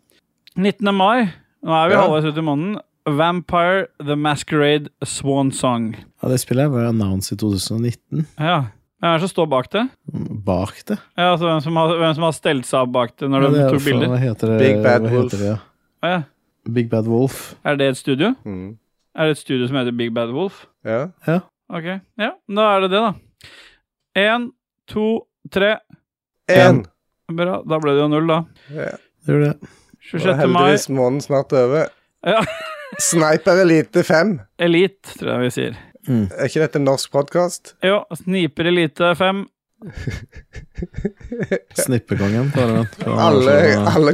A: 19. mai. Nå er vi
C: Ja.
A: halvveis ute i måneden. Vampire The Masquerade Swan Song.
G: Ja, Det spillet her var annonset i 2019.
A: Ja. Hvem er det som står bak det?
G: Bak det.
A: Ja, altså Hvem som har, hvem som har stelt seg opp bak det når
G: Ja,
A: de
G: det er
A: tok
G: jo fra-
A: bilder?
G: Hva heter det?
C: Big Bad
G: hva heter
C: Wolf.
G: det, ja?
A: Å, ja.
G: Big Bad Wolf.
A: Er det et studio?
C: Mm.
A: Er det et studio som heter Big Bad Wolf?
C: Ja.
A: Ok, ja, da er det det, da. Én, to, tre.
C: Én.
A: Bra. Da ble det jo null, da.
G: Det gjør det.
C: Og
A: 26. mai.
C: heldigvis måneden snart over.
A: Ja.
C: Sniper Elite 5.
A: Elite, tror jeg vi sier.
C: Er ikke dette en norsk podkast?
A: Jo, Sniper Elite 5.
G: Snippekongen. kaller han. For han var
C: Alle,
G: sånn, eh,
C: alle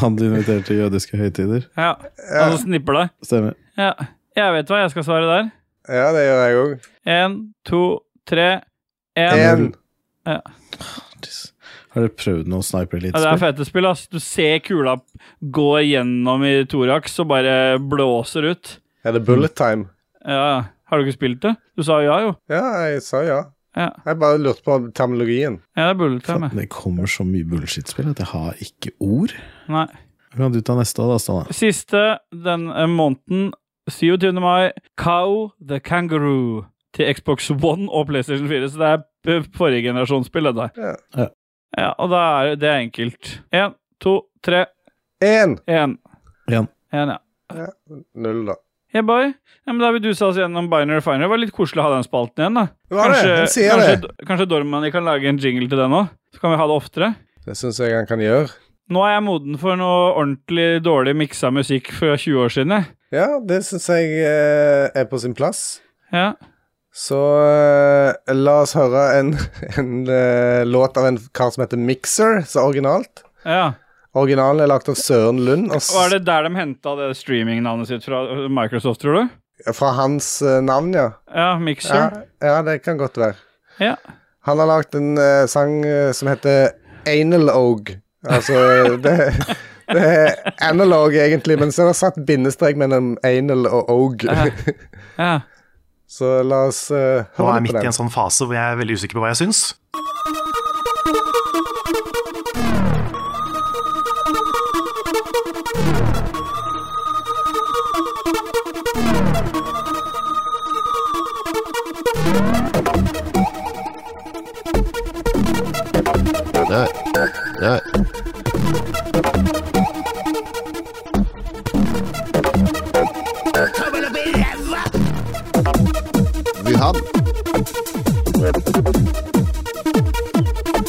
G: Han du inviterer til jødiske høytider.
A: Ja. Altså snipper deg.
G: Stemmer.
A: Ja. Jeg vet hva jeg skal svare der.
C: Ja, det gjør jeg òg.
A: Én, to, tre, én.
C: Én.
G: Jeez. Har dere prøvd noe Sniper
A: Ja, det er
G: Elite-spill?
A: fete spill, ass. Du ser kula gå gjennom i thorax og bare blåser ut.
C: Er det bullet time?
A: Ja, Har du ikke spilt det? Du sa ja, jo.
C: Ja, jeg sa ja.
A: Ja.
C: Jeg bare lurte på terminologien.
A: Ja, det er bullet time.
G: Faen, det kommer så mye bullshit-spill at jeg har ikke ord.
A: ja. Nei.
G: Kan du ta neste da, Stanne?
A: Siste denne måneden, 27. mai, Cow the Kangaroo til Xbox One og PlayStation 4. Så det er p- forrige generasjons spill, det der.
G: Ja.
A: Ja, og da er det er enkelt. Én, to, tre,
C: Én!
A: én.
G: Én.
A: Én, ja.
C: Null, da.
A: Hey boy. Ja, men da har vi dusa oss gjennom Binary Finder. Det var litt koselig å ha den spalten igjen, da.
C: Det var det. Han sier
A: kanskje,
C: det.
A: kanskje Dormani kan lage en jingle til den òg? Så kan vi ha det oftere.
C: Det syns jeg han kan gjøre.
A: Nå er jeg moden for noe ordentlig dårlig miksa musikk fra 20 år siden, jeg.
C: Ja, det syns jeg eh, er på sin plass.
A: Ja.
C: Så eh, la oss høre en, en eh, låt av en kar som heter Mixer, så originalt.
A: ja.
C: Originalen er lagd av Søren Lund, og s
A: Var det der de henta det streamingnavnet sitt fra øh, Microsoft, tror du?
C: fra hans eh, navn, ja.
A: Ja, Mixer.
C: ja. Ja, det kan godt være.
A: Ja.
C: Han har lagd en eh, sang eh, som heter Anal Ogue. Altså det, det er analog, egentlig, men så er det satt bindestrek mellom anal og ogue.
A: Ja. Ja.
C: Så la oss eh,
K: Nå er
C: høre
K: jeg
C: litt
K: midt
C: på
K: i
C: den.
K: en sånn fase hvor jeg er veldig usikker på hva jeg syns.
D: Nei. Nei. Wuhan.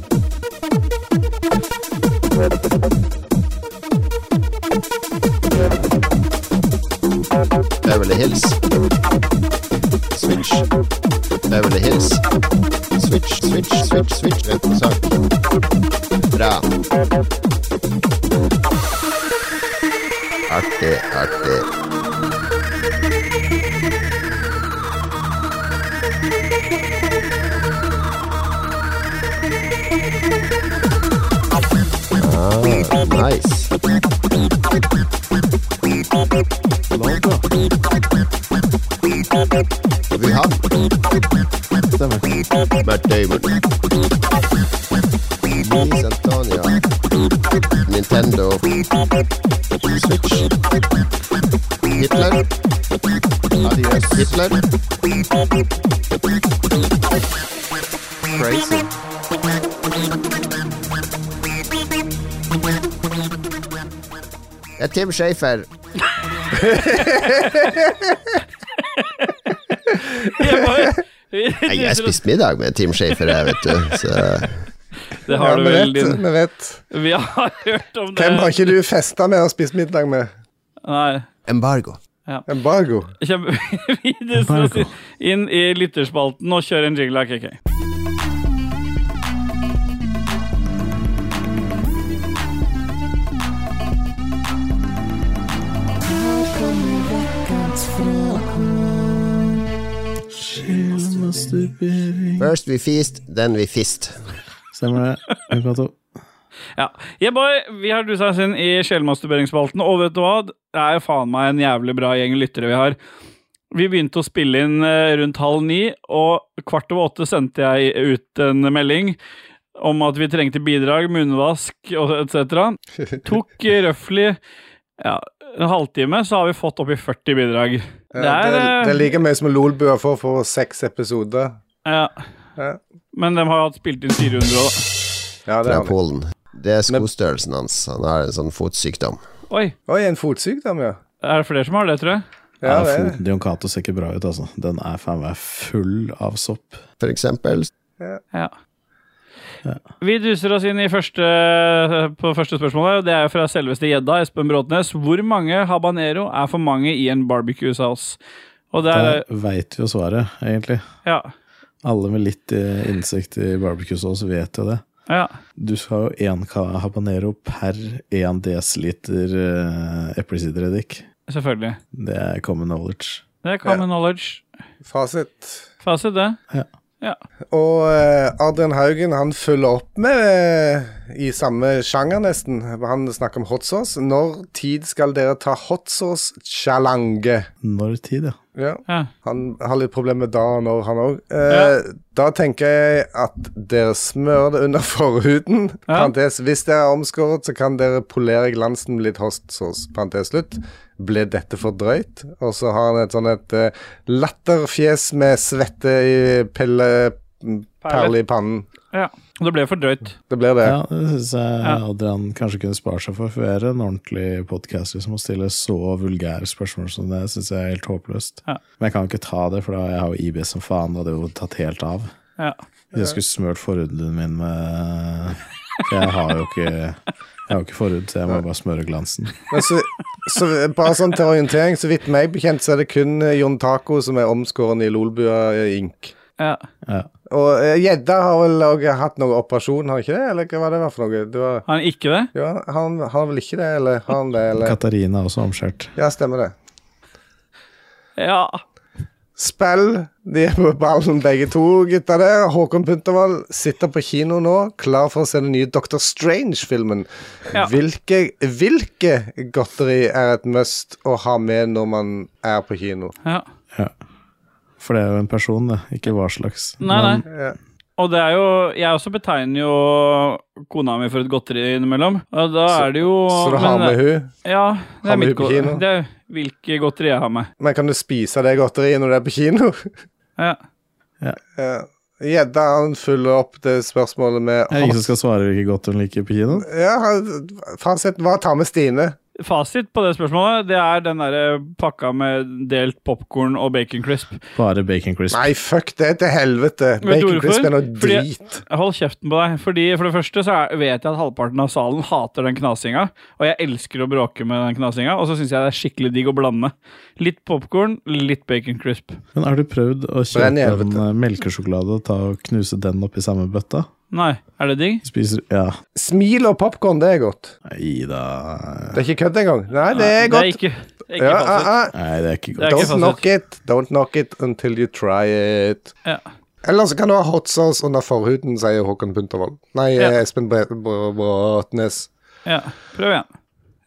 D: Beverly Hills. Switch. Beverly Hills. Switch, switch, switch, switch. Øk sak. Bra. Artig, artig. Ah, nice. Vi har
G: Stemmer.
D: Matt Damon. Luis Antonia. Nintendo. Switch. Hitler. Adios. Hitler. Crazy. Det er Tim Schafer.
A: Jeg bare-
D: Jeg jeg spiste middag med Tim Schafer, jeg, vet du. Så
A: Det har du
C: vi
A: vel,
C: vet,
A: din
C: Vi vet.
A: Vi har hørt om det.
C: Hvem har ikke du festa med og spist middag med?
A: Nei.
D: embargo.
C: Embargo.
A: Kjempe... Vi duser oss inn i lytterspalten og kjører en jingle av KK.
D: First we feast, then we fist.
G: Stemmer det. Mikato.
A: Ja. Yeah, boy, vi har dusa oss inn i sjelmasturberingsspalten, og vet du hva? Det er faen meg en jævlig bra gjeng lyttere vi har. Vi begynte å spille inn eh, rundt halv ni, og kvart over åtte sendte jeg ut en melding om at vi trengte bidrag, munnvask og etc. Tok eh, røftlig ja, en halvtime, så har vi fått oppi 40 bidrag.
C: Ja, det, er,
A: eh,
C: det er like mye som Lolbua får for seks episoder.
A: ja.
C: Ja.
A: Men de har hatt spilt inn 400 og
C: Ja, det
D: fra
C: er han.
D: Polen. Det er skostørrelsen hans. Han har en sånn fotsykdom.
A: Oi,
C: Oi, en fotsykdom, ja.
A: er det flere som har det, tror jeg?
C: Ja,
G: Ja,
C: det er det.
G: foten til Jon Cato ser ikke bra ut, altså. Den er faen meg full av sopp.
D: For eksempel.
A: Ja. Vi duser oss inn i første, på første spørsmålet. og Det er fra selveste gjedda, Espen Bråtnes. Hvor mange habanero er for mange i en barbecue-saus? Og det er
G: Der veit vi jo svaret, egentlig.
A: Ja.
G: Alle med litt eh, innsikt i barbecue-saus vet jo det.
A: ja.
G: Du skal jo én ca- habanero per 1 dl eh, eplesidereddik.
A: Selvfølgelig.
G: Det er common knowledge.
A: Det er common knowledge.
C: Fasit.
A: Fasit, det.
C: Og eh, Adrian Haugen han følger opp med eh, i samme sjanger, nesten. Han snakker om hot sauce. Når tid skal dere ta hot sauce challenge?
G: Når tid, ja.
C: Ja.
A: Ja.
C: Han har litt problemer med da og når, han òg. Eh, Da tenker jeg at dere smører det under forhuden.
A: Ja.
C: Parentes. Hvis dere er omskåret, så kan dere polere glansen med litt hot sauce. Parentes slutt. Ble dette for drøyt? Og så har han et sånn et eh, latterfjes med svette i pelle... mm, Perle i pannen.
A: ja. Og det ble for drøyt.
C: Det blir det.
G: Ja, det syns jeg
A: Ja.
G: Adrian kanskje kunne spare seg for. For det er en ordentlig podkast liksom, å stille så vulgære spørsmål som det. syns jeg er helt håpløst.
A: Ja.
G: Men jeg kan ikke ta det, for da jeg har jo IB som faen. Det hadde jo tatt helt av.
A: Ja.
G: Jeg skulle smurt forhuden min med for Jeg har jo ikke Jeg har jo ikke forhud, så jeg må bare smøre glansen.
C: Men så, så bare sånn til orientering, så vidt meg bekjent, så er det kun eh, Jon Taco som er omskåren i Lolbua eh, Ink.
A: Ja.
G: Ja.
C: Og eh, gjedda har vel òg hatt noe operasjon, har han ikke det? Eller hva var det var for noe? Det var,
A: Har han ikke det?
C: ja, han har vel ikke det, eller har han det, eller?
G: Katarina er også omskjært.
C: Ja, stemmer det.
A: Ja.
C: Spill. De er på ballen, begge to gutta der. Håkon Puntervold sitter på kino nå, klar for å se den nye Dr. Strange-filmen.
A: Ja.
C: Hvilke, hvilke godteri er et must å ha med når man er på kino?
A: ja.
G: For det er jo en person, det. Ikke hva slags.
A: Nei,
G: Men-
A: nei.
C: Ja.
A: Og det er jo Jeg også betegner jo kona mi for et godteri innimellom. Og da er det jo
C: Så du har
A: men- eh,
C: med hun?
A: Ja. Det
C: Har
A: er
C: med
A: mitt
C: hun på
A: godteri.
C: kino?
A: Det er hvilke godteri jeg har med.
C: Men kan du spise det godteriet når du er på kino?
A: Ja.
C: Ja. Gjedda han følger opp det spørsmålet med
G: Jeg er det ingen som skal svare hvilket godt hun liker på kinoen.
C: Ja, han- Fasiten var å ta med Stine.
A: Fasit på det spørsmålet, det er den derre pakka med delt popkorn og bacon crisp.
G: Bare bacon crisp.
C: Nei, fuck det, til helvete.
A: Vet du
C: Bacon crisp
A: hvorfor?
C: er noe
A: Fordi-
C: drit.
A: Hold kjeften på deg. Fordi For det første så er, vet jeg at halvparten av salen hater den knasinga, og jeg elsker å bråke med den knasinga, og så syns jeg det er skikkelig digg å blande. Litt popkorn, litt bacon crisp.
G: Men har du prøvd å
C: Brenn i
G: kjøpe en
C: helvete.
G: eh, melkesjokolade og ta og knuse den opp i samme bøtta?
A: Nei, er det digg?
G: Spiser Ja.
C: Smil og popkorn, det er godt.
G: Nei da
C: Det er ikke kødd engang. Nei, det er
A: Det er
C: godt.
A: ikke, det er ikke
C: Ja,
A: fasit.
C: ah, ah.
G: Nei, det er ikke
A: Det
G: godt.
A: er ikke
C: Don't
A: fasit.
C: knock it. Don't knock it until you try it.
A: Ja.
C: Eller så kan du ha hot sauce under forhuden, sier Håkon Puntervold. Nei, eh,
A: Ja.
C: Espen Bre- Br- Bråtnes.
A: Ja, prøv igjen.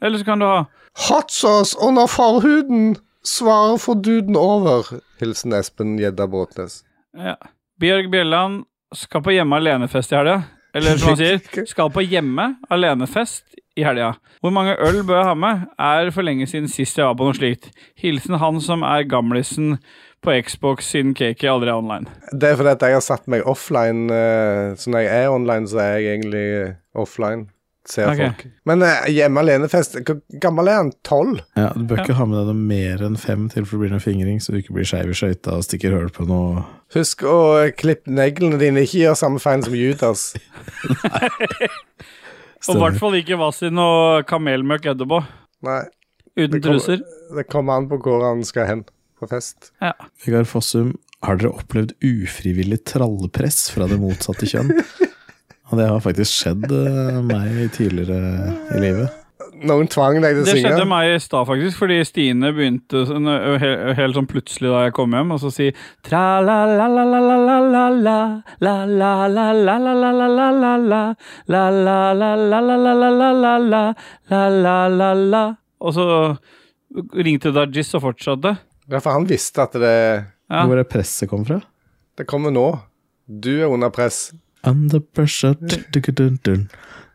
A: Eller så kan du ha
C: Hot sauce under forhuden! Svarer for duden over. Hilsen Espen Gjedda Bråtnes.
A: ja. Bjørg Bjelland skal på hjemme alene-fest i helga. Eller som han sier, skal på hjemme alene-fest i helga. Hvor mange øl bør jeg ha med? Er for lenge siden sist jeg var på noe slikt. Hilsen han som er gamlisen på Xbox siden cake aldri er online.
C: Det er fordi at jeg har satt meg offline. eh, Så når jeg er online, så er jeg egentlig eh, offline. Ser
A: Ok.
C: folk. Men eh, hjemme alene-fest Hvor gammel er han? Tolv?
G: Ja, du bør ikke ha med deg noe mer enn fem til for det blir en fingring, så du ikke blir skeiv i skøyta og stikker hull på noe
C: Husk å eh, klippe neglene dine. Ikke gjør samme feil som Judas.
A: Og i hvert fall ikke Vasin og kamelmøkk etterpå.
C: Nei,
A: Uten
C: Det kommer-
A: truser.
C: det kommer an på hvor han skal hen på fest.
G: Vegard Fossum, har dere opplevd ufrivillig trallepress fra det motsatte kjønn? Og det har faktisk skjedd eh, meg tidligere i livet.
C: Noen tvang deg til å
A: Det
C: synge.
A: skjedde meg i stad, faktisk, fordi Stine begynte sånn, ø, he- helt sånn plutselig da jeg kom hjem, og så si Tra-la-la-la-la-la-la-la La-la-la-la-la-la-la-la La-la-la-la-la-la-la-la La-la-la-la Og så ringte Dajis og fortsatte.
C: Derfor han visste at det,
A: Ja.
G: Hvor er presset kom fra?
C: det kommer nå. Du er under press.
G: Under pressure dun-dun-dun-dun.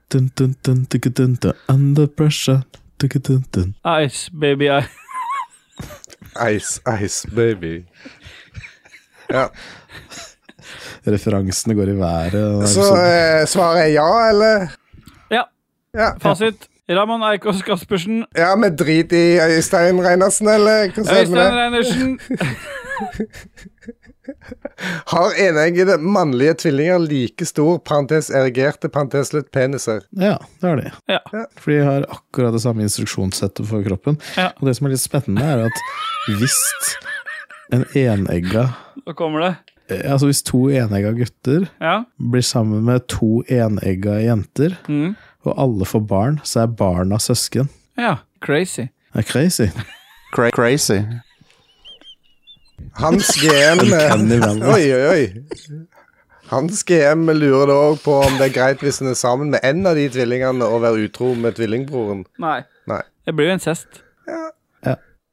G: Dun-dun-dun-dun-dun-dun. Under pressure dun-dun-dun.
A: Ice, baby, I
C: Ice, ice, baby. Ja.
G: Referansene går i været.
C: Så eh, svaret er ja, eller?
A: Ja,
C: Ja.
A: fasit. Ramon Eikås Caspersen.
C: Ja, med drit i Øystein Reinersen, eller hva sier du
A: Øystein
C: med det?
A: Reinersen.
C: Har eneggede mannlige tvillinger like stor parentes erigerte parentes slutt peniser?
G: Ja, det er det.
A: Ja.
G: For de har akkurat det samme instruksjonssettet for kroppen.
A: Ja.
G: Og det som er litt spennende, er at hvis en enegga
A: Nå kommer det.
G: eh, Altså hvis to enegga gutter
A: Ja.
G: blir sammen med to enegga jenter,
A: Mm.
G: og alle får barn, så er barna søsken.
A: ja. Crazy.
G: Det er crazy.
D: Cra crazy.
C: Hans GM
G: Uncanny Valley.
C: Oi, oi, oi. Hans GM lurer da òg på om det er greit hvis en er sammen med en av de tvillingene og være utro med tvillingbroren.
A: Nei.
C: Nei.
A: Det blir jo incest.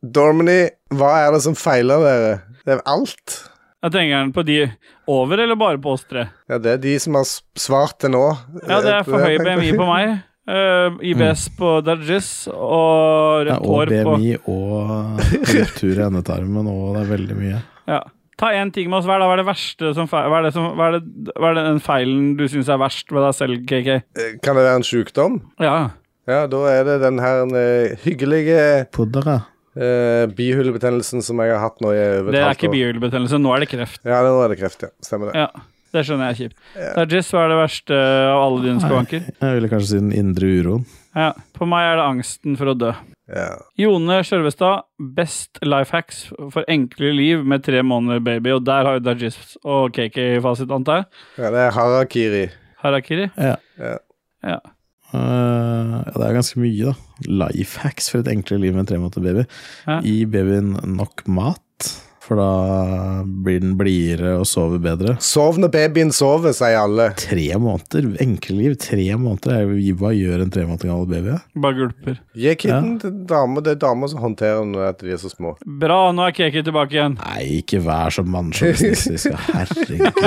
C: Dormany, hva er det som feiler dere? Det er alt.
A: Jeg tenker den på de over, eller bare på oss tre?
C: Ja, det er de som har s- svart til nå.
A: Ja, det er for høy BMI på meg. eh,
C: Mm.
A: IBS på Dajis og rødt
G: Ja, og
A: hår på
G: BMI og ruptur i endetarmen og det er veldig mye.
A: ja. Ta én ting med oss hver, da. Hva er det verste som feil, hva, er det som, hva, er det, hva er det den feilen du syns er verst ved deg selv, KK?
C: Eh, Kan det være en sykdom?
A: Ja.
C: Ja, da er det den her eh, hyggelige
G: Pudder, ja.
C: eh, bihulebetennelsen som jeg har hatt nå i over
A: Det
C: et
A: er
C: halvt
A: ikke
C: år.
A: bihulebetennelse. Nå er det kreft.
C: Ja, nå er det kreft, ja. Stemmer det.
A: Ja. Det skjønner jeg er kjipt. Dajis, hva er det verste av alle dine skavanker?
G: Jeg ville kanskje si den indre uroen.
A: Ja. På meg er det angsten for å dø.
C: Ja.
A: Jone Skjørvestad, best life hacks for enkle liv med tre måneder baby. Og der har jo Dajis og KK fasit, antar jeg.
C: ja, det er harakiri.
A: Harakiri.
G: Ja.
C: Ja.
A: Ja.
G: Eh, ja, det er ganske mye, da. Life hacks for et enklere liv med en tremåneder baby.
A: Ja.
G: Gi babyen nok mat, for da blir den blidere og sover bedre.
C: Sov når babyen sover, sier alle.
G: Tre måneder? Enkle liv? Tre måneder? Er jo, hva gjør en tre måneder gammel baby?
A: Bare gulper.
C: Gi kidden til damer. Det er damer som håndterer dem når de er så små.
A: Bra, nå er KK tilbake igjen.
G: Nei, ikke vær så mannssjåvinistisk. Herregud.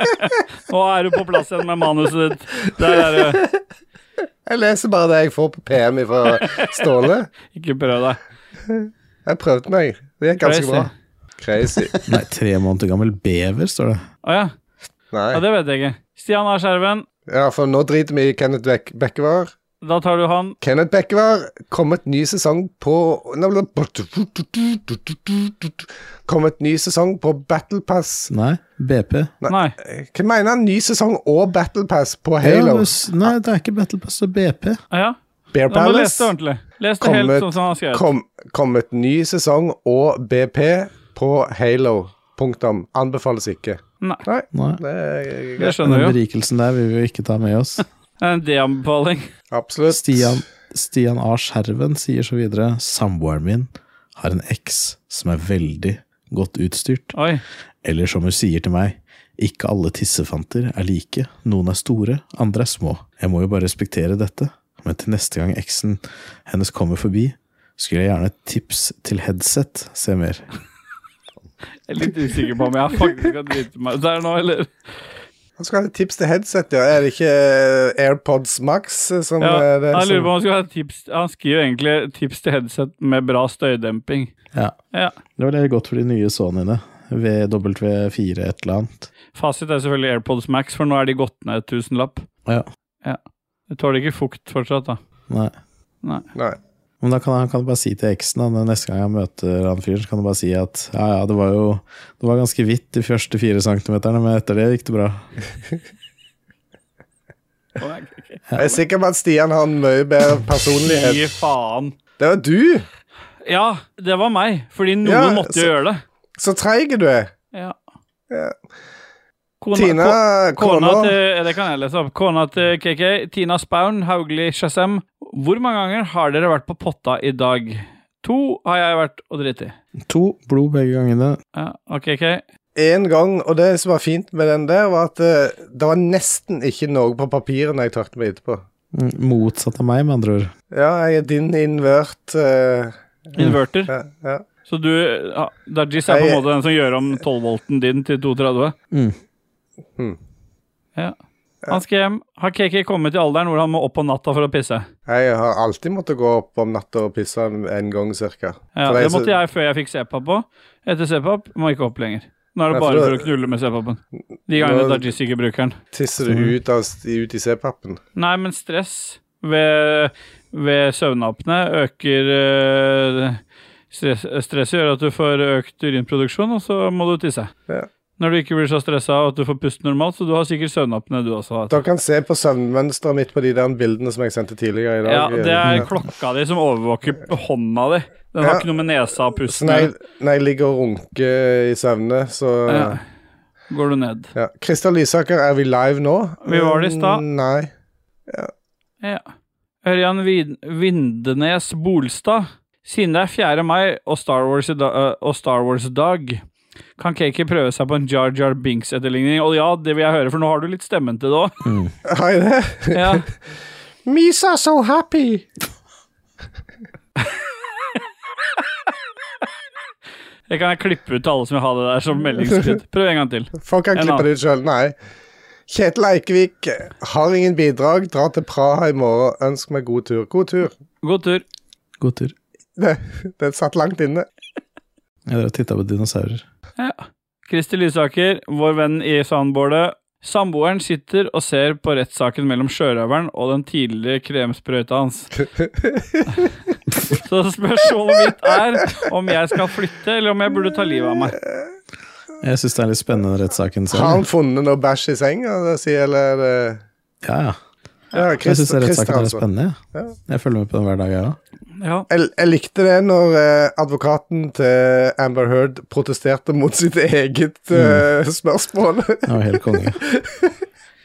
A: Nå er du på plass igjen med manuset ditt. Der er du.
C: Jeg leser bare det jeg får på PM fra Ståle.
A: Ikke prøv deg.
C: Jeg prøvde meg. Det gikk ganske
A: Crazy.
C: bra. Crazy.
G: Nei, tre måneder gammel bever, står det.
A: Å ja. ja.
C: Nei.
A: Det vet jeg ikke. Stian A. Skjerven,
C: Ja, for nå driter vi i Kenneth Bek Bekkevar.
A: da tar du han.
C: Kenneth Bekkevar kommet ny sesong på Kommet ny sesong på Battle Pass.
G: Nei, BP.
A: Nei.
C: Hva mener han? Ny sesong og Battle Pass på
G: Ja,
C: Halo?
G: men s- Nei, det er ikke Battle Pass, det er BP.
A: Å ja.
C: Bear
A: Da må du lese det
C: Palace?
A: ordentlig. Les det helt
C: Kommet,
A: sånn som han har skrevet.
C: kom, kommet ny sesong og BP på Halo. Punktum. Anbefales ikke.
A: Nei.
G: Nei.
C: Det er
A: Det
C: greit.
A: skjønner vi
G: Den
A: jo.
G: berikelsen der vil vi jo ikke ta med oss.
A: Det er en D-anbefaling.
C: Absolutt.
G: Stian, Stian A. Skjerven sier så videre Samboeren min har en eks som er veldig godt utstyrt.
A: Oi.
G: Eller som hun sier til meg, ikke alle tissefanter er like. Noen er store, andre er små. Jeg må jo bare respektere dette. Men til neste gang eksen hennes kommer forbi, skulle jeg gjerne et tips til headset se mer.
A: Jeg er litt usikker på om jeg faktisk har driti meg ut der nå, eller?
C: Han skal ha et tips til headset, ja. Er det ikke eh, AirPods Max eh, som
A: Ja,
C: er det
A: jeg lurer på
C: som
A: om han skulle ha et tips Han skriver egentlig tips til headset med bra støydemping.
G: Ja.
A: Ja.
G: Det var det godt for de nye Sonyene. VW4 et eller annet.
A: Fasit er selvfølgelig AirPods Max, for nå er de gått ned et tusenlapp.
G: Ja.
A: Det tåler ikke fukt fortsatt, da.
G: Nei.
A: Nei.
C: Nei.
G: Men da kan han kan du bare si til eksen, da, neste gang jeg møter han fyren, så kan du bare si at ja, ja, det var jo det var ganske hvitt de første fire centimeterne, men etter det gikk det bra.
A: Å, ok, ok.
C: Jeg er sikker på at Stian har en mye bedre personlighet.
A: Fy faen.
C: Det var du!
A: Ja, det var meg, fordi noen
C: Ja,
A: måtte
C: så-
A: jo gjøre det.
C: Så treig du er.
A: Ja.
C: Ja.
A: Kona,
C: Tina,
A: ko- Kona
C: kona
A: til Det kan jeg lese opp. Kona til KK, Tina Spaun, Haugli Shazam. Hvor mange ganger har dere vært på potta i dag? To har jeg vært og driti.
G: To blod begge gangene.
A: Ja, OK, KK.
C: En gang, og det som var fint med den der, var at eh, det var nesten ikke noe på papiret når jeg tørket meg etterpå.
G: Mm, Motsatt av meg, med andre ord.
C: Ja, jeg er din invert eh,
A: Mm. Inverter.
C: ja, ja.
A: Så du ja, Dajis er på en måte den som gjør om 12-volten din til 230?
G: Mm.
C: Mm.
A: Ja. Han skal hjem. Har KK kommet i alderen hvor han må opp på natta for å pisse?
C: Jeg har alltid måttet gå opp om natta og pisse en, en gang cirka.
A: Ja,
C: For
A: det
C: er så-
A: måtte jeg før jeg fikk C-pap på. Etter C-pap må jeg ikke opp lenger. Nå er det
C: Nei, for
A: bare
C: da-
A: for å knulle med C-papen. De gangene
C: Nå-
A: Dajis ikke bruker den.
C: Tisser
A: Mm.
C: du ut, av, ut i C-pappen?
A: Nei, men stress ved, ved søvnapene øker eh, Stress, stress gjør at du får økt urinproduksjon, og så må du tisse.
C: Ja.
A: Når du ikke blir så stressa og at du får puste normalt, så du har sikkert søvnapné du også. altså.
C: Dere kan se på søvnmønsteret mitt på de der bildene som jeg sendte tidligere i dag. eh,
A: Ja, det er klokka di som overvåker hånda di. Den har
C: Ja.
A: ikke noe med nesa og
C: Så
A: pusten
C: når
A: å
C: jeg,
A: gjøre.
C: når jeg ligger og runker i søvne, så
A: Ja. Går du ned.
C: ja. Christer Lysaker, er vi live nå? Mm,
A: Vi var det i stad.
C: Nei.
A: Ja. Ørjan Vin Vindenes Bolstad. Siden det er 4. mai og Star Wars, i da øh, og Star Wars dag, kan Kaki prøve seg på en Jar Jar Binks-etterligning? Og ja, det vil jeg høre, for nå har du litt stemmen til det òg.
C: Har jeg det?
A: Ja.
C: Misa so happy!
A: Det kan jeg klippe ut til alle som vil ha det der som meldingskritt. Prøv en gang til.
C: Folk kan
A: En
C: klippe det ut sjøl. Nei. Kjetil Eikevik har ingen bidrag. Drar til Praha i morgen. Ønsk meg god tur. God tur.
A: God tur.
G: God tur.
C: Det, det satt langt inne.
G: Jeg drev og titta på dinosaurer.
A: Kristi Lysaker, vår venn i sandbordet. Samboeren sitter og ser på rettssaken mellom sjørøveren og den tidligere kremsprøyta hans. Så spørsmålet mitt er om jeg skal flytte, eller om jeg burde ta livet av meg.
G: Jeg syns det er litt spennende, den rettssaken
C: Har han
G: selv.
C: funnet noe bæsj i senga? det sier- Eller er det
G: Ja, ja.
C: ja, Christer-
G: Jeg syns
C: Christer,
G: rettssaken er
C: altså.
G: spennende. Ja. Jeg følger med på den hver dag, jeg òg.
A: Ja.
C: Jeg, jeg likte det når eh, advokaten til Amber Heard protesterte mot sitt eget eh, spørsmål.
G: Jeg var helt konge.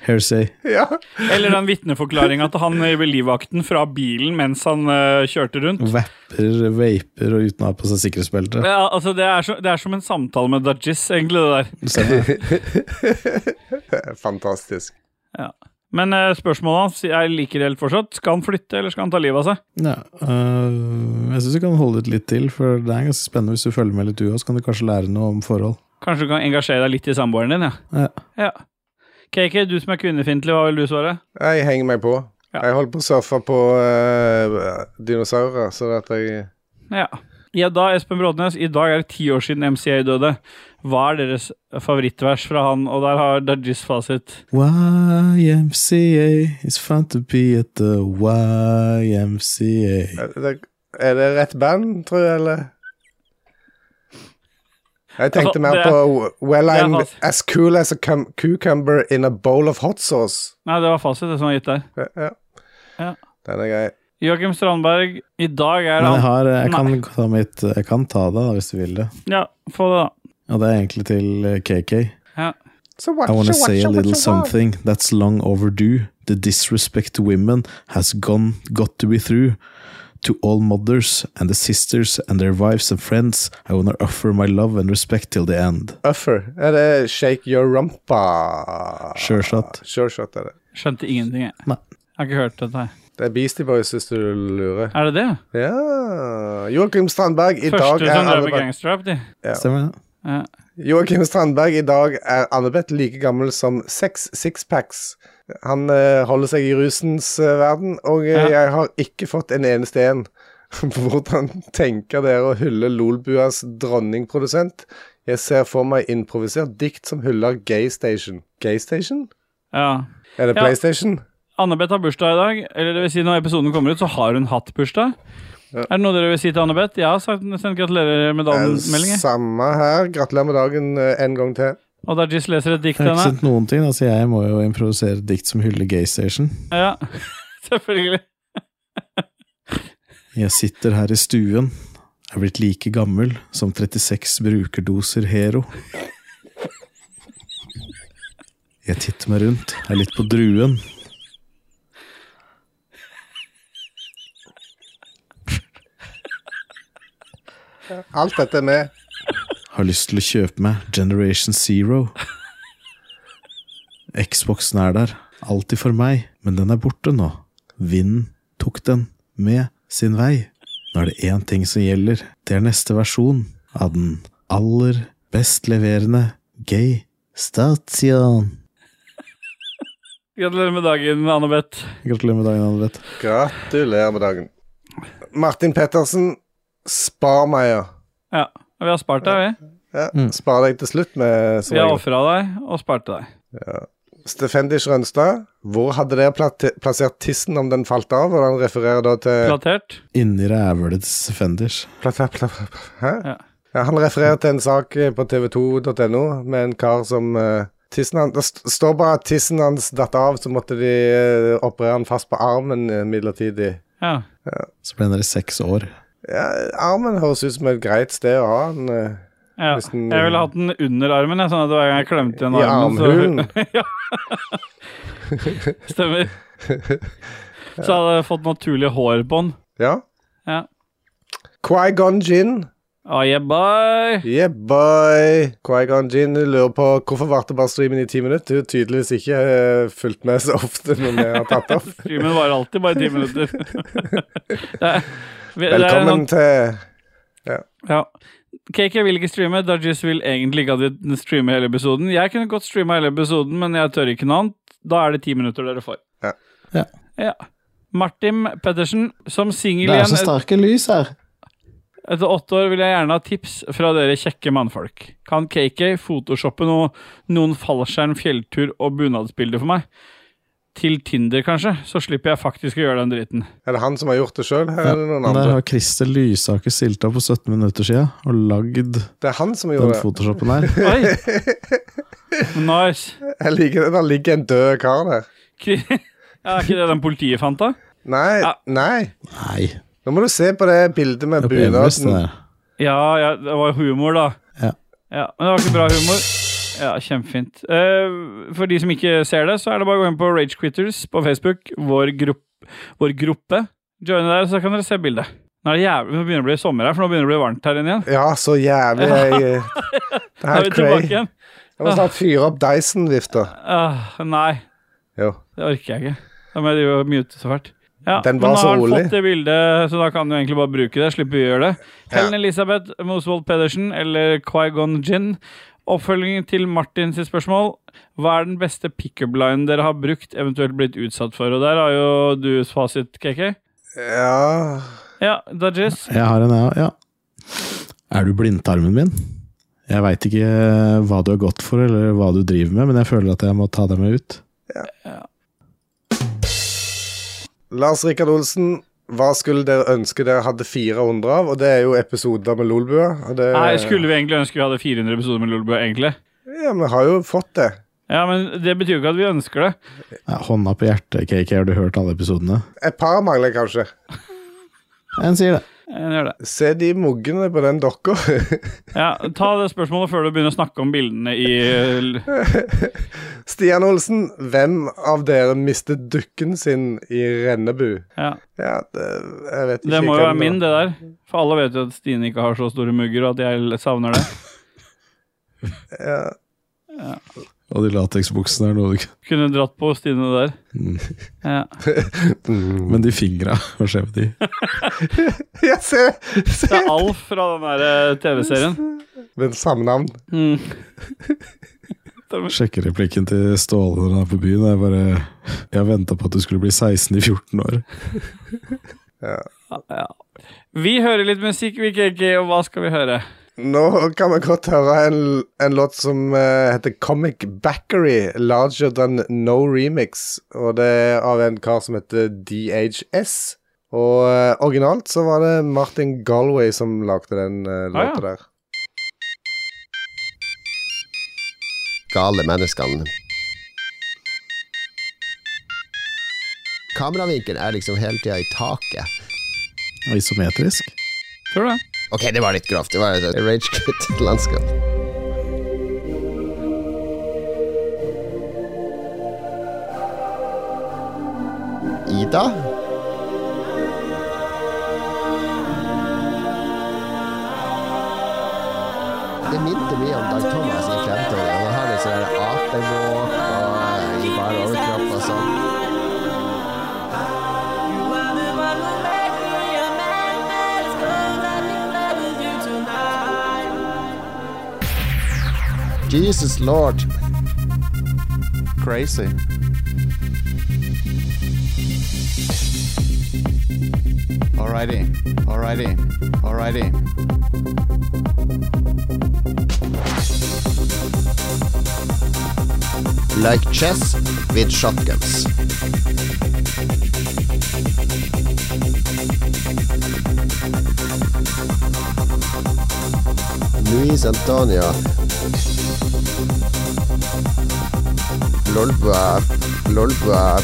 G: Hearsay.
C: ja.
A: Eller den vitneforklaringa til han i livvakten fra bilen mens han eh, kjørte rundt.
G: Vapper, vaper og uten å ha på seg sikkerhetsbelte.
A: Ja, altså det, er så, det er som en samtale med Dajis, egentlig, det der.
G: Det stemmer.
C: Fantastisk.
A: Men eh, spørsmålet hans jeg liker helt fortsatt. Skal han flytte, eller skal han ta livet av seg?
G: Ja, øh, jeg syns du kan holde ut litt til, for det er ganske spennende hvis du følger med litt du òg, så kan du kanskje lære noe om forhold.
A: Kanskje du kan engasjere deg litt i samboeren din, ja.
G: Ja.
A: KK, du som er kvinnefiendtlig, hva vil du svare?
C: Jeg henger meg på.
A: Ja.
C: Jeg holder på å surfe på eh, dinosaurer, så at jeg
A: Ja. ja da, Espen Bråtnes, i dag er det ti år siden MCA døde. Hva er deres favorittvers fra han? Og der har Dajis fasit.
G: YMCA, it's fun to be at the YMCA.
C: Er det, er det rett band, tror jeg, eller? Jeg
A: Altså,
C: tenkte mer
A: det er-
C: på oh, Well
A: det er
C: I'm
A: fast.
C: as cool as a cum cucumber in a bowl of hot sauce.
A: Nei, det var fasit, det som var gitt der.
C: Ja, ja.
A: Ja.
C: Den er grei.
A: Joakim Strandberg, i dag er
G: Men
A: han
G: jeg, har, eh, jeg, kan ta mitt, jeg kan ta det, da, hvis du vil det.
A: Ja, få det, da.
G: Og det er egentlig til eh, KK.
C: So what,
G: I wanna
C: so what,
G: say
C: so
G: a
C: what,
G: little
C: so what?
G: something that's long overdue. The disrespect to women has gone got to be through. To all mothers and the sisters and their wives and friends, I wanna offer my love and respect till the end.
C: Uffer. Er det Shake Your Rumpa?
G: Sure shot.
C: Sure shot er det.
A: Skjønte ingenting, jeg.
G: Nei.
A: Jeg har ikke hørt dette her.
C: Det er Beastie Boys, hvis du lurer.
A: Er det det?
C: Ja Joakim Strandberg, i dag
A: Første som
C: er
A: drev med
C: Anne-Beth
A: gangsterrap, de.
C: Ja.
G: Stemmer det?
A: Ja.
C: Joakim Strandberg, i dag er Anne-Beth like gammel som seks sixpacks. Han eh, holder seg i rusens eh, verden, og eh,
A: Ja.
C: jeg har ikke fått en eneste en. Hvordan tenker dere å hylle Lolbuas dronningprodusent? Jeg ser for meg improvisert dikt som hyller Gaystation. Gaystation?
A: ja.
C: Er det
A: Ja.
C: PlayStation?
A: Anne-Beth har bursdag i dag. Eller det vil si, når episoden kommer ut, så har hun hatt bursdag. Er det noe dere vil si til Anne-Beth? Jeg har sagt, sendt gratulerer med
C: Eh,
A: dagen-meldinger.
C: Samme her. Gratulerer med dagen eh, en gang til.
A: Og der Giz leser et dikt
G: Jeg
A: til
G: har ikke
A: henne.
G: sett noen ting, da, så jeg må jo improvisere et dikt som hyller Gaystation.
A: Ja, selvfølgelig.
G: Jeg sitter her i stuen, er blitt like gammel som 36 brukerdoser Hero. Jeg titter meg rundt, er litt på druen.
C: Alt dette er med.
G: Har lyst til å kjøpe meg Generation Zero. Xboxen er der, alltid for meg, men den er borte nå. Vinden tok den med sin vei. Nå er det én ting som gjelder. Det er neste versjon av den aller best leverende gay station.
A: Gratulerer med dagen, Anne-Beth.
G: Gratulerer med dagen, Anne-Beth.
C: Gratulerer med dagen. Martin Pettersen, spar meg, ja.
A: Ja. Og vi har spart deg, vi.
C: Ja, Spar deg til slutt med som
A: Vi har
C: regel.
A: ofra deg og spart deg.
C: Stefendis Rønstad. Hvor hadde dere plate- plassert tissen om den falt av? Og han refererer da til
A: Platert?
G: Inni rævhølets fenders.
C: Plate- pla- pla- Hæ?
A: Ja.
C: Ja, han refererer til en sak eh, på tv2.no med en kar som eh, tissen han, Det st- står bare at tissen hans datt av, så måtte de eh, operere han fast på armen eh, midlertidig.
A: Ja.
G: Så ble den der i seks år.
C: Ja, armen høres ut som et greit sted å ha den. eh,
A: ja.
C: Hvis den-
A: Jeg ville hatt den under armen, jeg, sånn at hver gang jeg klemte igjen
C: I
A: armen,
C: armhulen.
A: så Stemmer. Så hadde jeg fått naturlige hårbånd.
C: Ja.
A: Ja.
C: Qui-Gon Jinn.
A: Oh, yeah, boy.
C: Yeah, boy! Qui-Gon Jinn lurer på hvorfor varte bare streamen i ti minutter. Hun har tydeligvis ikke eh, fulgt med så ofte når vi har tatt opp.
A: Streamen varer alltid bare ti minutter. Det er- vi- det er
C: Velkommen
A: sånn-
C: til
A: ja. KK vil ikke streame. Dajis vil egentlig ikke at de streamer hele episoden. Jeg kunne godt streama hele episoden, men jeg tør ikke noe annet. Da er det ti minutter dere får.
C: Ja.
G: Ja.
A: Ja. Martin Pettersen, som singel
G: Det er så
A: igjen
G: sterke lys her!
A: Etter åtte år vil jeg gjerne ha tips fra dere kjekke mannfolk. Kan KK photoshoppe noe, noen fallskjerm, fjelltur og bunadsbilder for meg? Til Tinder, kanskje, så slipper jeg faktisk å gjøre den driten.
C: Er det han som har gjort det sjøl, eller er det noen
G: Der
C: andre?
G: har Christer Lysaker stilt opp for 17 minutter siden og lagd
C: Det er han som
G: den
C: gjorde det.
G: photoshopen her.
A: Oi! Nice.
C: Jeg liker det. Der ligger en død kar der.
A: Kri- Ja, er ikke det den politiet fant, da?
C: Nei,
A: Ja.
C: nei.
G: Nei,
C: Nå må du se på det bildet med
G: det er på Everest, det
C: bunaden.
G: der.
A: Ja, ja, det var humor, da.
G: Ja.
A: ja. Men det var ikke bra humor. Ja, kjempefint. Eh, for de som ikke ser det, så er det bare å gå inn på Rage Quitters på Facebook, vår, grupp, vår gruppe. Join der, så kan dere se bildet. Nå er det jævlig, nå begynner det å bli sommer her, for nå begynner det å bli varmt her inne igjen.
C: Ja, så jævlig jeg eh, Det
A: Da
C: her
A: er
C: er
A: vi tilbake
C: cray.
A: igjen.
C: Jeg må snart fyre opp Dyson-vifta.
A: Ah, nei,
C: Jo.
A: det orker jeg ikke. Da må jeg drive og mute så fælt. Ja,
C: Den var
A: men nå
C: så
A: har han
C: rolig.
A: fått det bildet, så da kan du egentlig bare bruke det. Slipper vi å gjøre det.
C: Ja.
A: Helen Elisabeth Mosvold Pedersen eller Quaigon Gin. Oppfølgingen til Martin sitt spørsmål. Hva er den beste pickup line dere har brukt, eventuelt blitt utsatt for? Og der har jo du fasit, KK.
C: Ja
A: Ja, Dodges.
G: Jeg har en, jeg òg. Ja. Er du blindtarmen min? Jeg veit ikke eh, hva du har gått for, eller hva du driver med, men jeg føler at jeg må ta deg med ut.
C: Lars Rikard Olsen, hva skulle dere ønske dere hadde 400 av? Og det er jo episoder med Lolbua. og det-
A: Nei, skulle vi egentlig ønske vi hadde 400 episoder med Lolbua, egentlig?
C: Ja, vi har jo fått det.
A: Ja, men det betyr jo ikke at vi ønsker det.
G: Ja, hånda på hjertet, KK, har du hørt alle episodene?
C: Et par mangler jeg kanskje.
G: En sier det.
A: Jeg gjør det.
C: Se de muggene på den dokka.
A: Ja, ta det spørsmålet før du begynner å snakke om bildene i
C: Stian Olsen, hvem av dere mistet dukken sin i Rennebu?
A: Ja.
C: Ja, det, jeg vet ikke.
A: Det må jo
C: hvem
A: være min, det der. For alle vet jo at Stine ikke har så store mugger, og at jeg savner det.
C: Ja.
G: Og de lateksbuksene er noe du ikke
A: Kunne dratt på Stine der.
G: Mm.
A: Ja.
G: Men de fingra, hva skjer med de?
C: ja, se! se.
A: Det er Alf fra den der eh, TV-serien.
C: Men samme navn.
A: Mm.
G: Sjekker replikken til Ståle når han er på byen. Jeg bare Jeg venta på at du skulle bli 16 i 14 år.
A: Ja. Vi hører litt musikk, vi, KK, og hva skal vi høre?
C: Nå kan vi godt høre en, en låt som eh, heter Comic Backery, larger than no remix. Og det er av en kar som heter DHS. Og eh, originalt så var det Martin Galway som lagde den eh,
A: Ah, ja.
C: låta der.
D: Gale menneskene. Kameravinkelen er liksom hele tida i taket.
G: Isometrisk.
A: Tror du det?
D: Ok, det var litt grovt. Det var et rage quit landskap. Ida? Det minte mye om Dag Thomas i Fremtoget. Han har litt sånn der apevåk og i bare overkropp og sånn. Jesus lord. Crazy. Alrighty, alrighty, alrighty. like chess with shotguns. Luis Antonia. Lolba, lolba,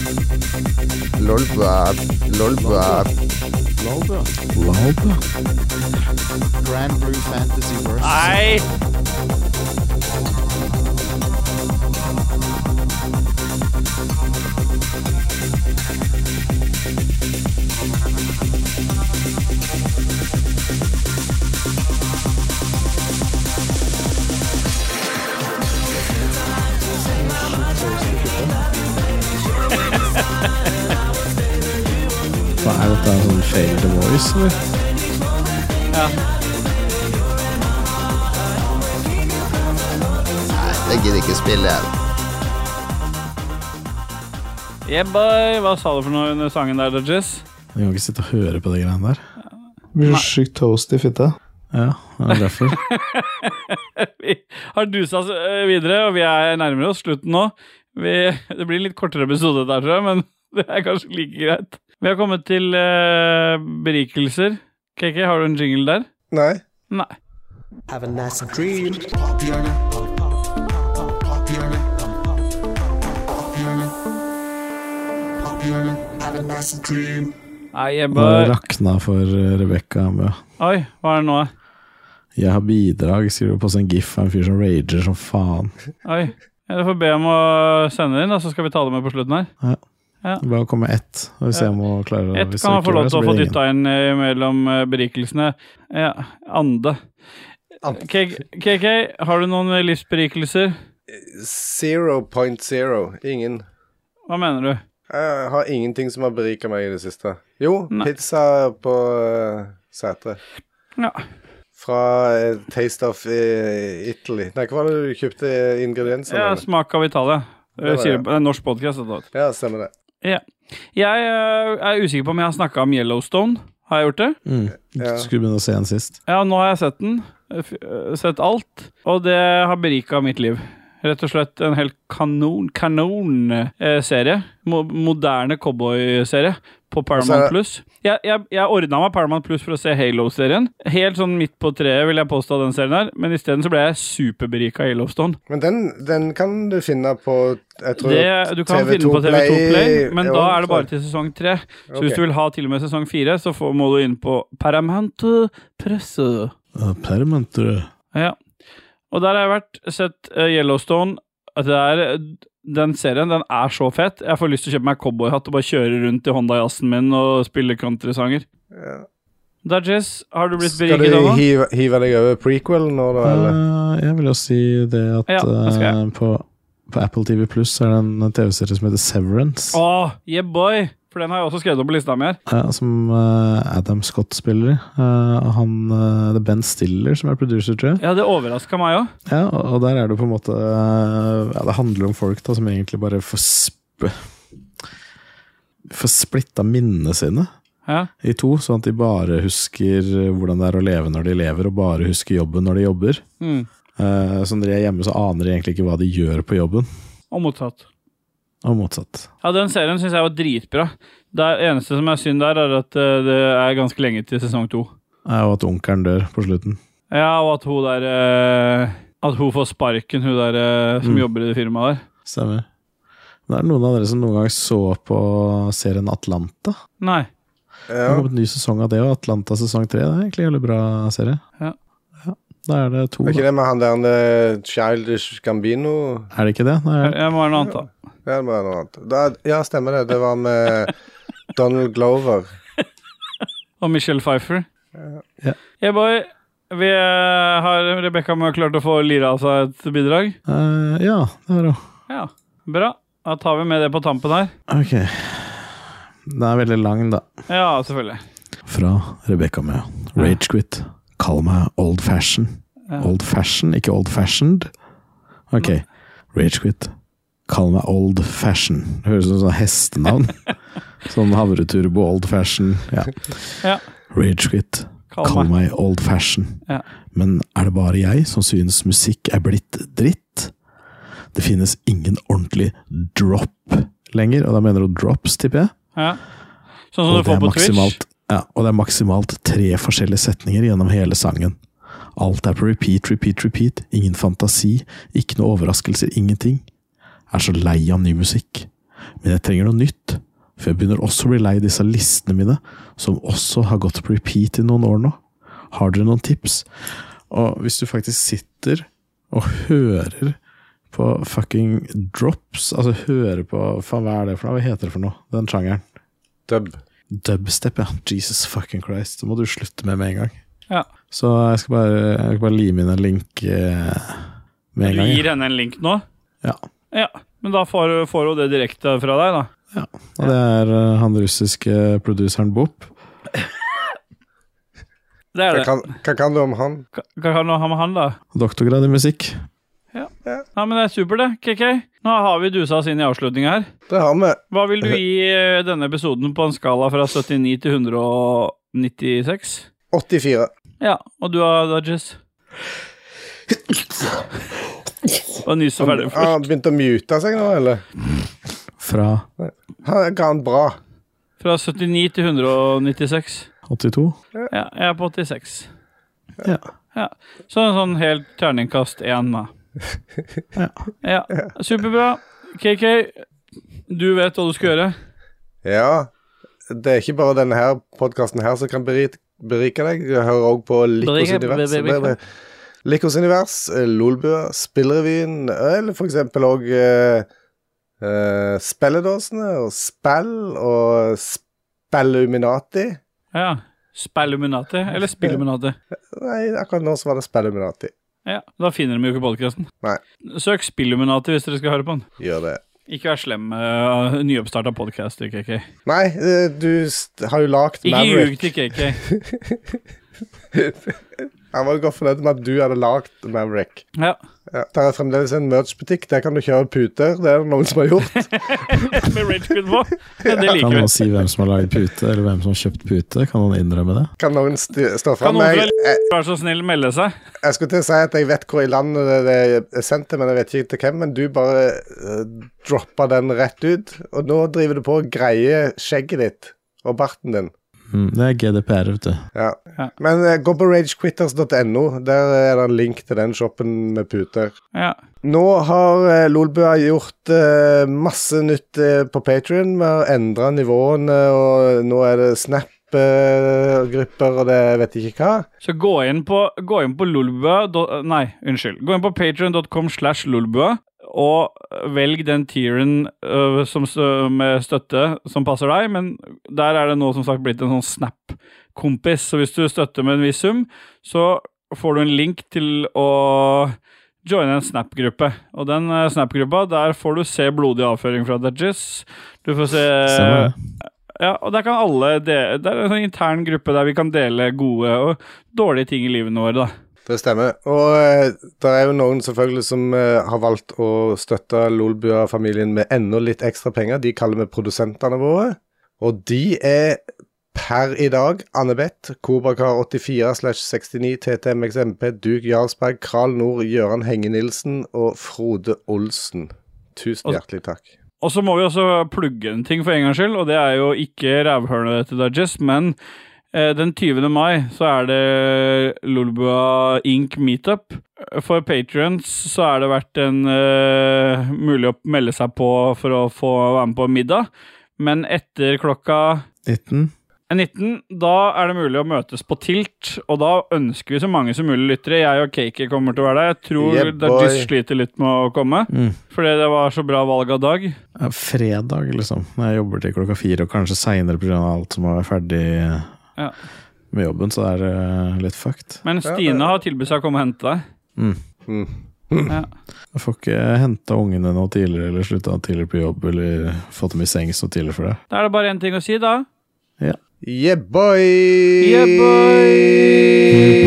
D: lolba, lolba.
L: Lolba. Grand Blue Fantasy Versus.
A: Nei!
G: Hva er dette? En sånn fail the voice, eller?
A: Ja.
D: Nei, det Ah, gidder ikke spille.
A: Yeah, boy. Hva sa du for noe under sangen der, Dodges?
G: Jeg kan ikke sitte og høre på de greiene der. Blir så sykt toast i fitta. Ja, det er derfor.
A: Vi har dusa oss eh, videre, og vi er nærmere oss slutten nå. Vi, det blir en litt kortere episode der, tror jeg, men det er kanskje like greit. Vi har kommet til eh, berikelser. KK, har du en jingle der?
C: Nei.
A: Nei.
M: Have a nice dream. Have a nice dream.
A: Nei, jeg
G: Nå
A: bare
G: rakna for eh, Rebekka Mø.
A: Oi, hva er det nå?
G: Jeg har bidrag, skriver hun på sin gif av en fyr som rager som faen.
A: Oi. Jeg får be om å sende inn, og så skal vi ta det med på slutten her.
G: Ja.
A: Ja.
G: Det er Bare å komme med ett, og vi ser om hun klarer det.
A: Ett
G: Hvis
A: kan
G: hun
A: man få
G: ikke
A: lov
G: gjør det,
A: til
G: så
A: å få
G: blir det ingen.
A: dytta inn eh, mellom eh, berikelsene. Ja, ande. K- KK, har du noen eh, livsberikelser?
C: Zero point zero. Ingen.
A: Hva mener du?
C: Jeg har ingenting som har berika meg i det siste. Jo, pizza på uh, Sætre.
A: Ja.
C: Fra eh, Taste of eh, Italy. Nei, hva var det du kjøpte ingrediensene?
A: Ja,
C: av?
A: smak av Italia.
C: Det var
A: Det, sier,
C: det.
A: det er en norsk podkast.
C: Ja, stemmer det.
A: Ja. Jeg eh, er usikker på om jeg har snakka om Yellowstone. Har jeg gjort det?
G: Mm.
C: Ja.
G: Skulle begynne å se en sist.
A: Ja, nå har jeg sett den. eh, f- eh, Sett alt. Og det har berika mitt liv. Rett og slett en helt kanon, kanon eh, serie. Mo moderne cowboyserie på
C: Og så
A: Paramount
C: er-
A: Plus. Jeg, jeg, jeg ordna meg Paramount Plus for å se Halo-serien. Helt sånn midt på treet, vil jeg påstå, den serien her. Men isteden så ble jeg superberika av Yellowstone.
C: Men den, den kan du finne på jeg tror
A: Det, du kan finne den på TV2 Play, men da er det bare til sesong tre. Så
C: Ok.
A: hvis du vil ha til og med sesong fire, så får, må du inn på Paramount Press.
G: Ja, Permanent, tror jeg.
A: Ja. Og der har jeg vært, sett eh, Yellowstone. At det er, eh, den serien den er så fet. Jeg får lyst til å kjøpe meg cowboyhatt og bare kjøre rundt i Honda Jazzen min og spille countrysanger.
C: Ja.
A: Dajis, har du blitt
C: Skal
A: beriket
C: du
A: av Mm. noe?
C: hive, hive deg over prequelen nå, da? Eller?
G: Eh, jeg vil jo si det at
A: Ja, det skal jeg.
G: eh, på, på Apple TV Pluss er det en TV-serie som heter Severance.
A: Åh, yeah boy! For den har jeg også skrevet opp på lista mi her.
G: Ja, som eh, Adam Scott spiller i. Eh, han, eh, det er Ben Stiller som er producer, tror jeg.
A: Ja, det overraska meg òg.
G: Ja, og, og der er det på en måte eh, ja, Det handler om folk da som egentlig bare får sp Får splitta minnene sine
A: Ja.
G: i to, sånn at de bare husker hvordan det er å leve når de lever, og bare husker jobben når de jobber.
A: Mm.
G: Eh, så når de er hjemme, så aner de egentlig ikke hva de gjør på jobben,
A: Og motsatt.
G: og motsatt.
A: Ja, den serien syns jeg var dritbra. Det eneste som er synd der, er at eh, det er ganske lenge til sesong to.
G: Eh, og at onkelen dør på slutten.
A: Ja, og at hun der eh, At hun får sparken, hun der eh, som
G: Mm.
A: jobber i det firmaet der.
G: Stemmer. Men er det noen av dere som noen gang så på serien Atlanta?
A: Nei.
G: Det
C: Ja.
G: har kommet en ny sesong av det, og Atlanta sesong tre. Det er egentlig en jævlig bra serie.
A: Ja.
G: Ja, Da er det to,
C: Er ikke
G: da.
C: det med han der eh, Childish Gambino?
G: Er det ikke det? Nei,
A: Jeg jeg må være noe annet, da.
C: Ja, det må være noe annet. Da, ja, stemmer det. Det var med Donald Glover.
A: Og Michelle Pfeiffer.
G: Ja.
A: Yeah, boy. Vi eh, har Rebekka med klart å få lira av seg et bidrag.
G: Eh, ja det er det.
A: Ja, bra. Da tar vi med det på tampen her.
G: Ok. Den er veldig lang, da.
A: Ja, selvfølgelig.
G: Fra Rebekka Mø. Ragequit. Kall meg old fashion.
A: Ja.
G: Old fashion, ikke old fashioned. Ok. Ragequit. Kall meg old fashion. Det høres ut som sånn hestenavn. sånn havreturbo old fashion. Ja.
A: Ja.
G: Ragequit.
A: Kall
G: Kall meg old fashion.
A: Ja.
G: Men er det bare jeg som synes musikk er blitt dritt? Det finnes ingen ordentlig drop lenger, og da mener du drops, tipper jeg?
A: Ja. Sånn som
G: Og
A: du får
G: det er
A: på Twitch.
G: maksimalt- Ja, og det er maksimalt tre forskjellige setninger gjennom hele sangen. Alt er på repeat, repeat, repeat. Ingen fantasi, ikke noe overraskelser, ingenting. Jeg er så lei av ny musikk. Men jeg trenger noe nytt, for jeg begynner også å bli lei disse listene mine, som også har gått på repeat i noen år nå. Har dere noen tips? Og hvis du faktisk sitter og hører på fucking drops, altså hører på Faen, hva er det for noe? Hva heter det for noe? Den sjangeren?
C: Dub.
G: Dubstep, ja. Jesus fucking Christ. Det må du slutte med med en gang.
A: Ja.
G: Så jeg skal bare, jeg skal bare lime inn en link eh, med en
A: Du
G: gang.
A: gir henne en link nå?
G: Ja.
A: ja. Men da får, får hun det direkte fra deg, da.
G: ja. Og det er eh, han russiske produseren Bop.
A: Det er
C: Hva
A: det.
C: kan, hva kan du om han?
A: Hva kan du ha med han, da?
G: Doktorgrad i musikk.
A: Ja. Nei, men det er supert, det. KK. Nå har vi dusa oss inn i avslutninga her.
C: Det har vi.
A: Hva vil du gi eh, denne episoden på en skala fra 79 til 196?
C: 84.
A: Ja. Og du har Dodges? Og nyser
C: Han,
A: ferdig
C: han begynte å mute seg nå, eller?
G: Fra
C: Han ga han bra.
A: Fra 79 til 196.
G: 82.
A: Ja, jeg er på 86.
G: Ja.
A: Ja. Så en sånn helt terningkast én, da. Ja. Superbra. KK, du vet hva du skal gjøre.
C: Ja. Det er ikke bare denne her podkasten her som kan berike, berike deg. Du hører òg på Likos
A: Berike,
C: univers.
A: be- berike.
C: Likos univers, eh, Lolbua, Spillrevyen, eller for eksempel òg Spelledåsene og Spell og Spelluminati.
A: Ja. Spelluminati eller Spilluminati?
C: Nei, akkurat nå så var det Spelluminati.
A: Ja, Da finner de jo ikke podkasten.
C: Nei.
A: Søk Spilluminati hvis dere skal høre på den.
C: Gjør det.
A: Ikke vær slem med uh, nyoppstarta podkast, KK.
C: Nei, eh, du st- har jo lagd
A: Ikke ljug
C: Maverick.
A: til KK.
C: Han var jo godt fornøyd med at du hadde lagd Maverick.
A: Ja.
C: Ja, det er fremdeles en merch-butikk. Der kan du kjøpe puter. Det er det noen som har gjort.
A: Med Ragequid på. Ja, det
G: Kan
A: liker vi.
G: noen si hvem som har lagd pute, eller hvem som har kjøpt pute? Kan noen innrømme det?
C: Kan noen st- stå
A: Kan
C: fram?
A: noen
C: Jeg,
A: fra
C: jeg,
A: være så snill melde seg?
C: jeg skulle til å si at jeg vet hvor i landet det- det er sendt, til, men jeg vet ikke til hvem. Men du bare uh, droppa den rett ut. Og nå driver du på og greier skjegget ditt og barten din.
G: Mm, det er GDPR, vet du.
C: Ja. Men eh, gå på ragequitters.no. Der er det en link til den shoppen med puter.
A: Ja.
C: Nå har eh, Lolbua gjort eh, masse nytt eh, på Patrion. Vi har endra nivåene, og nå er det Snap-grupper, og det jeg vet ikke hva.
A: Så gå inn på, gå inn på lolbua... do- Nei, unnskyld. Gå inn på patreon.com slash lolbua og velg den tieren øh, som, s- med støtte som passer deg, men der er det nå som sagt blitt en sånn Snap-kompis, så hvis du støtter med en viss sum, så får du en link til å joine en Snap-gruppe. Og den eh, Snap-gruppa, der får du se blodig avføring fra Dudges. Du får se
G: Stemmer
A: Ja, og der kan alle dele, Det er en sånn intern gruppe der vi kan dele gode og dårlige ting i livene våre, da.
C: Det stemmer. Og eh, det er jo noen selvfølgelig som eh, har valgt å støtte Lolbua-familien med enda litt ekstra penger. De kaller vi produsentene våre. Og de er per i dag Anne-Beth, Kobrakar84 69, TTMXMP, Duk Jarlsberg, Kral Nord, Gøran Henge-Nilsen og Frode Olsen. Tusen hjertelig takk.
A: Og så må vi også plugge en ting for en gangs skyld, og det er jo ikke rævhølet til Dudges, men eh, den 20. mai så er det Lolbua Inc. meetup. For patrions så har det vært en eh, mulig å melde seg på for å få være med på middag, men etter klokka
G: 19.
A: 19, da er det mulig å møtes på Tilt, og da ønsker vi så mange som mulig lyttere. Jeg og Kaki kommer til å være der. Jeg tror
G: Yeah,
A: Dajis
G: boy.
A: sliter litt med å komme,
G: Mm.
A: fordi det var så bra valg av dag.
G: Ja, fredag, liksom. Når jeg jobber til klokka fire, og kanskje seinere pga. alt som må være ferdig eh,
A: Ja.
G: med jobben, så er det eh, litt fucked.
A: Men Stine har tilbudt seg å komme og hente deg.
G: Mm.
A: Ja.
G: Jeg får ikke henta ungene noe tidligere, eller slutta tidligere på jobb, eller fått dem i sengs noe tidligere for det.
A: Da er det bare én ting å si, da.
C: Yeah, boy!
A: Yeah, boy!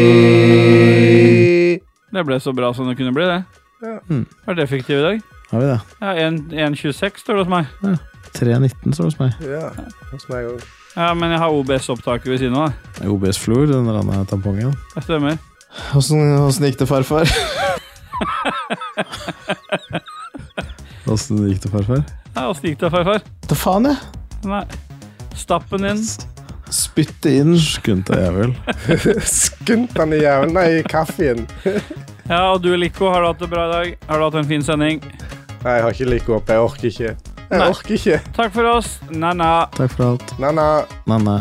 A: Det ble så bra som det kunne bli, det.
C: Ja.
G: Mm.
A: Var det effektiv i dag?
G: Har vi det?
A: Ja, 1- 1.26 står det hos meg.
G: 3.19 står det hos meg.
C: Ja, hos meg òg.
A: Ja, men jeg har OBS-opptaket ved siden av. da.
G: OBS Flor, den der andre tampongen.
A: Det stemmer.
G: Åssen gikk det, farfar? Åssen gikk det, farfar?
A: Ja, Åssen gikk det, farfar?
G: Da faen, jeg.
A: Nei. Stappen din.
G: Spytte inn. Skunta jævel.
C: Skunt han i jævelen Nei, i kaffen.
A: Ja, og du, Lico, har du hatt det bra i dag? Har du hatt en fin sending?
C: Nei, jeg har ikke like opp. Jeg orker ikke. Jeg
A: Nei.
C: orker ikke.
A: Takk for oss. Na-na.
G: Takk for alt.
C: Nei, nei.
G: Nanne.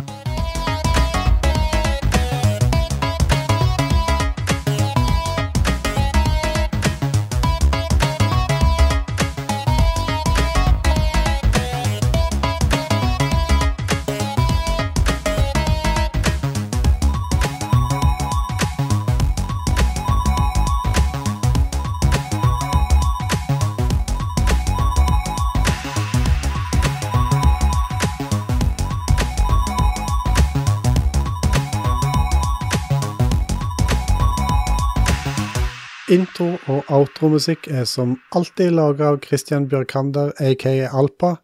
J: Intro- og outromusikk er som alltid laga av Christian Bjørkander, aka Alpa.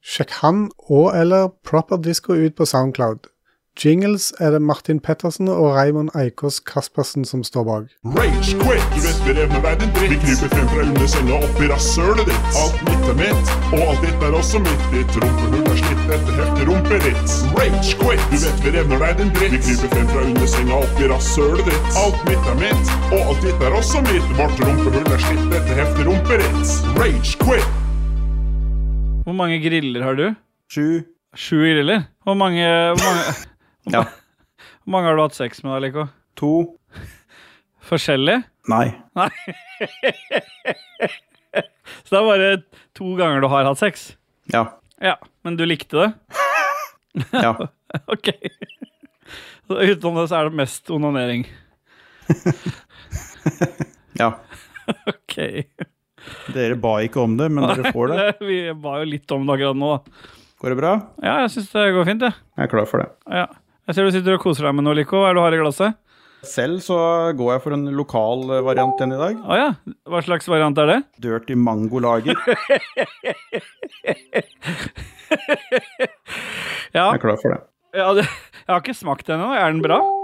J: Sjekk han og eller Proper Disco ut på Soundcloud. Jingles er det Martin Pettersen og Raymond Eikås Kaspersen som står bak.
N: Rage quit. Du vet vi revner verden dritt. Vi kryper frem fra under senga opp i rasshølet ditt. Alt mitt er mitt, og alt ditt er også mitt. Ditt rumpehull er slitt etter heftig rumpeditt. Rage quit. Du vet vi revner verden dritt. Vi kryper frem fra under senga opp i rasshølet ditt. Alt mitt er mitt, og alt ditt er også mitt. Vårt rumpehull er slitt etter heftig rumpeditt. Rage quit.
A: Hvor mange griller har du? Sju. Sju griller? Hvor mange Hvor mange, hvor ma- hvor mange har du hatt sex med, da, Lico? To. Forskjellig?
E: Nei.
A: Nei. Så det er bare to ganger du har hatt sex?
E: Ja.
A: Ja, men du likte det?
E: Ja.
A: ok. Så utenom det så er det mest onanering.
E: ja.
A: ok.
E: Dere ba ikke om det, men dere får det.
A: Vi ba jo litt om det akkurat nå, da.
E: Går det bra?
A: Ja, jeg syns det går fint, jeg.
E: Jeg er klar for det.
A: Ja. Jeg ser du sitter og koser deg med noe, Lico. Hva er det du har i glasset?
E: Selv så går jeg for en lokal eh, variant enn i dag.
A: Å ja. Hva slags variant er det?
E: Dirty mangolager.
A: Ja.
E: Jeg er klar for det.
A: ja det, jeg har ikke smakt den ennå. Er den bra? Å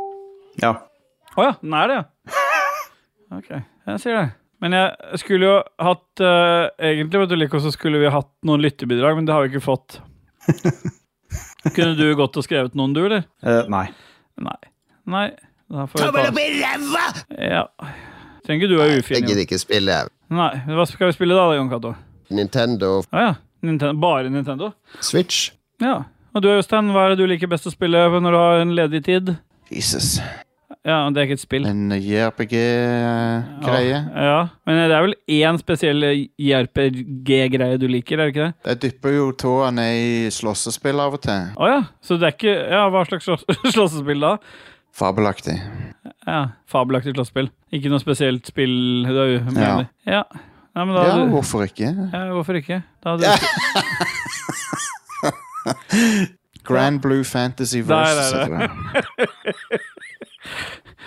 E: Ja.
A: ja, den er det, ja. Ok, jeg sier det. Men jeg skulle jo hatt eh, Egentlig, vet du, Lico, så skulle vi hatt noen lytterbidrag, men det har vi ikke fått. Kunne du gått og skrevet noen, du, eller?
E: Eh, nei.
A: Nei. Nei. Da får vi ta Ja. Trenger ikke du være ufin.
D: Jeg
A: Jon.
D: gidder ikke spille.
A: Nei. Hva skal vi spille da, Jon Cato?
D: Nintendo
A: Å ja. Ninten- bare Nintendo?
D: Switch.
A: Ja. Og du Øystein, hva er det du liker best å spille når du har en ledig tid?
L: Jesus.
A: Ja, det er ikke et spill.
L: En JRPG-greie.
A: Ja, ja. Men det er vel én spesiell JRPG-greie du liker, er det ikke det?
L: Jeg dypper jo tåene i slåssespill av og til.
A: Å ja. Så det er ikke Ja, hva slags slåss- slåssespill da?
L: Fabelaktig.
A: Ja, Fabelaktig slåssespill. Ikke noe spesielt spill du er uenig
L: Ja.
A: i? Ja. Ja, men da
L: Ja,
A: hadde-
L: hvorfor ikke?
A: ja, hvorfor ikke? Da hadde du
L: Grand Blue Fantasy
A: Der
L: Versus.
A: er
L: heter
A: det.
L: det.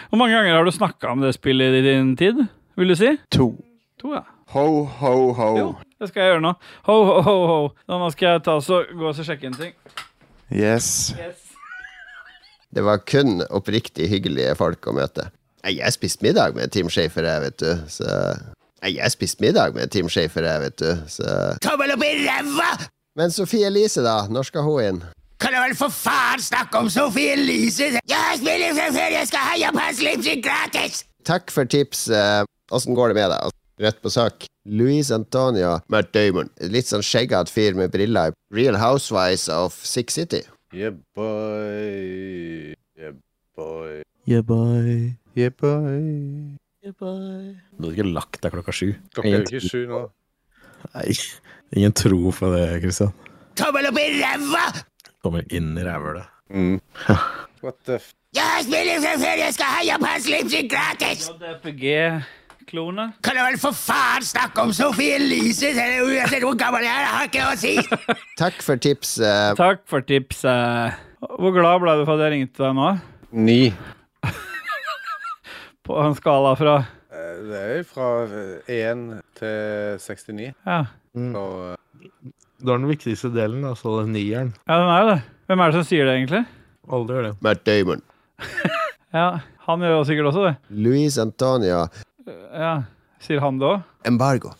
A: Hvor mange ganger har du snakka om det spillet i din tid? Vil du si?
L: To.
A: To, ja.
L: Ho, ho, ho.
A: Det skal jeg gjøre nå. Ho, ho, ho, ho. Da nå skal jeg ta så, gå og så sjekke en ting.
L: Yes.
D: Det var kun oppriktig hyggelige folk å møte. Nei, Jeg spiste middag med Team Shafer, jeg, vet du, så Nei, jeg spiste middag med Team Shafer, jeg, vet du, så
M: Tommel opp i ræva!
D: Men Sofie Elise, da? Når skal hun inn?
M: Kan du vel for faen snakke om Sophie Elise? Jeg spiller for før jeg skal ha japansk lipstick gratis!
D: Takk for tipset. Åssen går det med deg? Rett på sak. Luis Antonio Matt Damon. Litt sånn skjeggete fyr med briller. Real Housewives of Six City.
C: Yeah, boy. Yeah, boy.
G: Yeah, boy.
C: Yeah, boy.
G: Du hadde ikke lagt deg klokka sju.
C: Klokka er jo ikke sju nå.
G: Nei. Ingen tro på det, Christian.
M: Tommel opp i ræva!
G: Kommer inn i rævhølet.
C: What the f...
M: Jeg spiller for før jeg skal ha japansk lipstick gratis!
A: JPG-klone.
M: Kan du vel for faen snakke om Sophie Elise? Eller Uansett hvor gammel jeg er, det har ikke noe å si!
D: Takk for tipset.
A: Takk for tipset. Hvor glad ble du for at jeg ringte deg nå?
C: Ni.
A: På en skala fra
C: Eh, Det er jo fra eh, 1 til 69.
A: Ja,
C: Og eh,
O: Det var den viktigste delen, altså den nieren.
A: ja den er jo det. Hvem er det som sier det, egentlig?
O: Alle gjør det.
D: Matt Damon.
A: Ja, Han gjør jo sikkert også det.
D: Luis Antonio
A: Ja, Sier han det òg?
D: Embargo.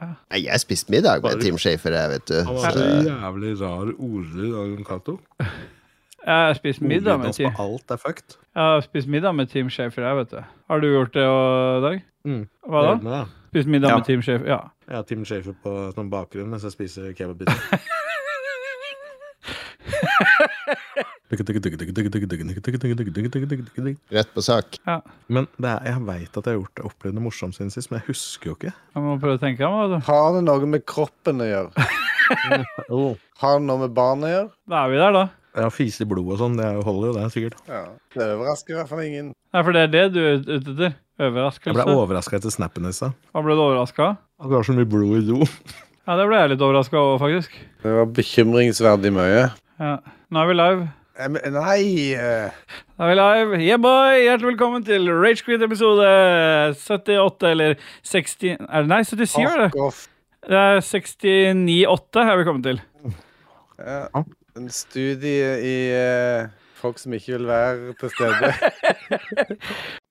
D: Nei, jeg spiste middag med
A: Bare-
D: Tim Schafer, jeg, vet du.
P: Han
D: Så-
P: var så jævlig rar ordlyd av Jon Cato.
A: Jeg har spist middag
P: Ordlyden
A: med
P: hans
A: Tim.
P: på alt er fucked.
A: Jeg har spist middag med Tim Schafer, jeg, vet du. Har du gjort det, og- Dag?
P: Mm.
A: Hva
P: Jeg gjorde det,
A: da?
P: da.
A: Spist middag
P: Ja.
A: med Tim Schafer? Ja.
P: Jeg har Tim Schafer på sånn bakgrunn mens jeg spiser kebabbiter.
D: Rett på sak.
E: Men det er, jeg veit at jeg har gjort det opplevd det morsomt siden sist, men jeg husker jo ikke.
A: Jeg må prøve å tenke meg om.
C: Har det noe med kroppen å gjøre? Har det noe med barnet å gjøre?
A: Da er vi der, da.
E: Jeg har fise i blodet og sånn, det er- holder jo det, sikkert.
C: Ja. Det overrasker i hvert fall ingen.
A: Nei, for det er det du er ute etter? Overraskelse?
E: Jeg ble overraska etter snappen i stad.
A: Hva ble du overraska?
E: At det var så mye blod i do.
A: Ja, det ble jeg litt overraska over, faktisk.
C: Det var bekymringsverdig mye.
A: Ja. Nå er vi live.
C: Eh, Nei eh,
A: Da er vi live. Yeah, boy! Hjertelig velkommen til Ragequit episode 78, eller 60 er det, Nei, 77 er det. Det er 69,8 er vi kommet til.
C: Ja. En studie i eh, folk som ikke vil være til stede.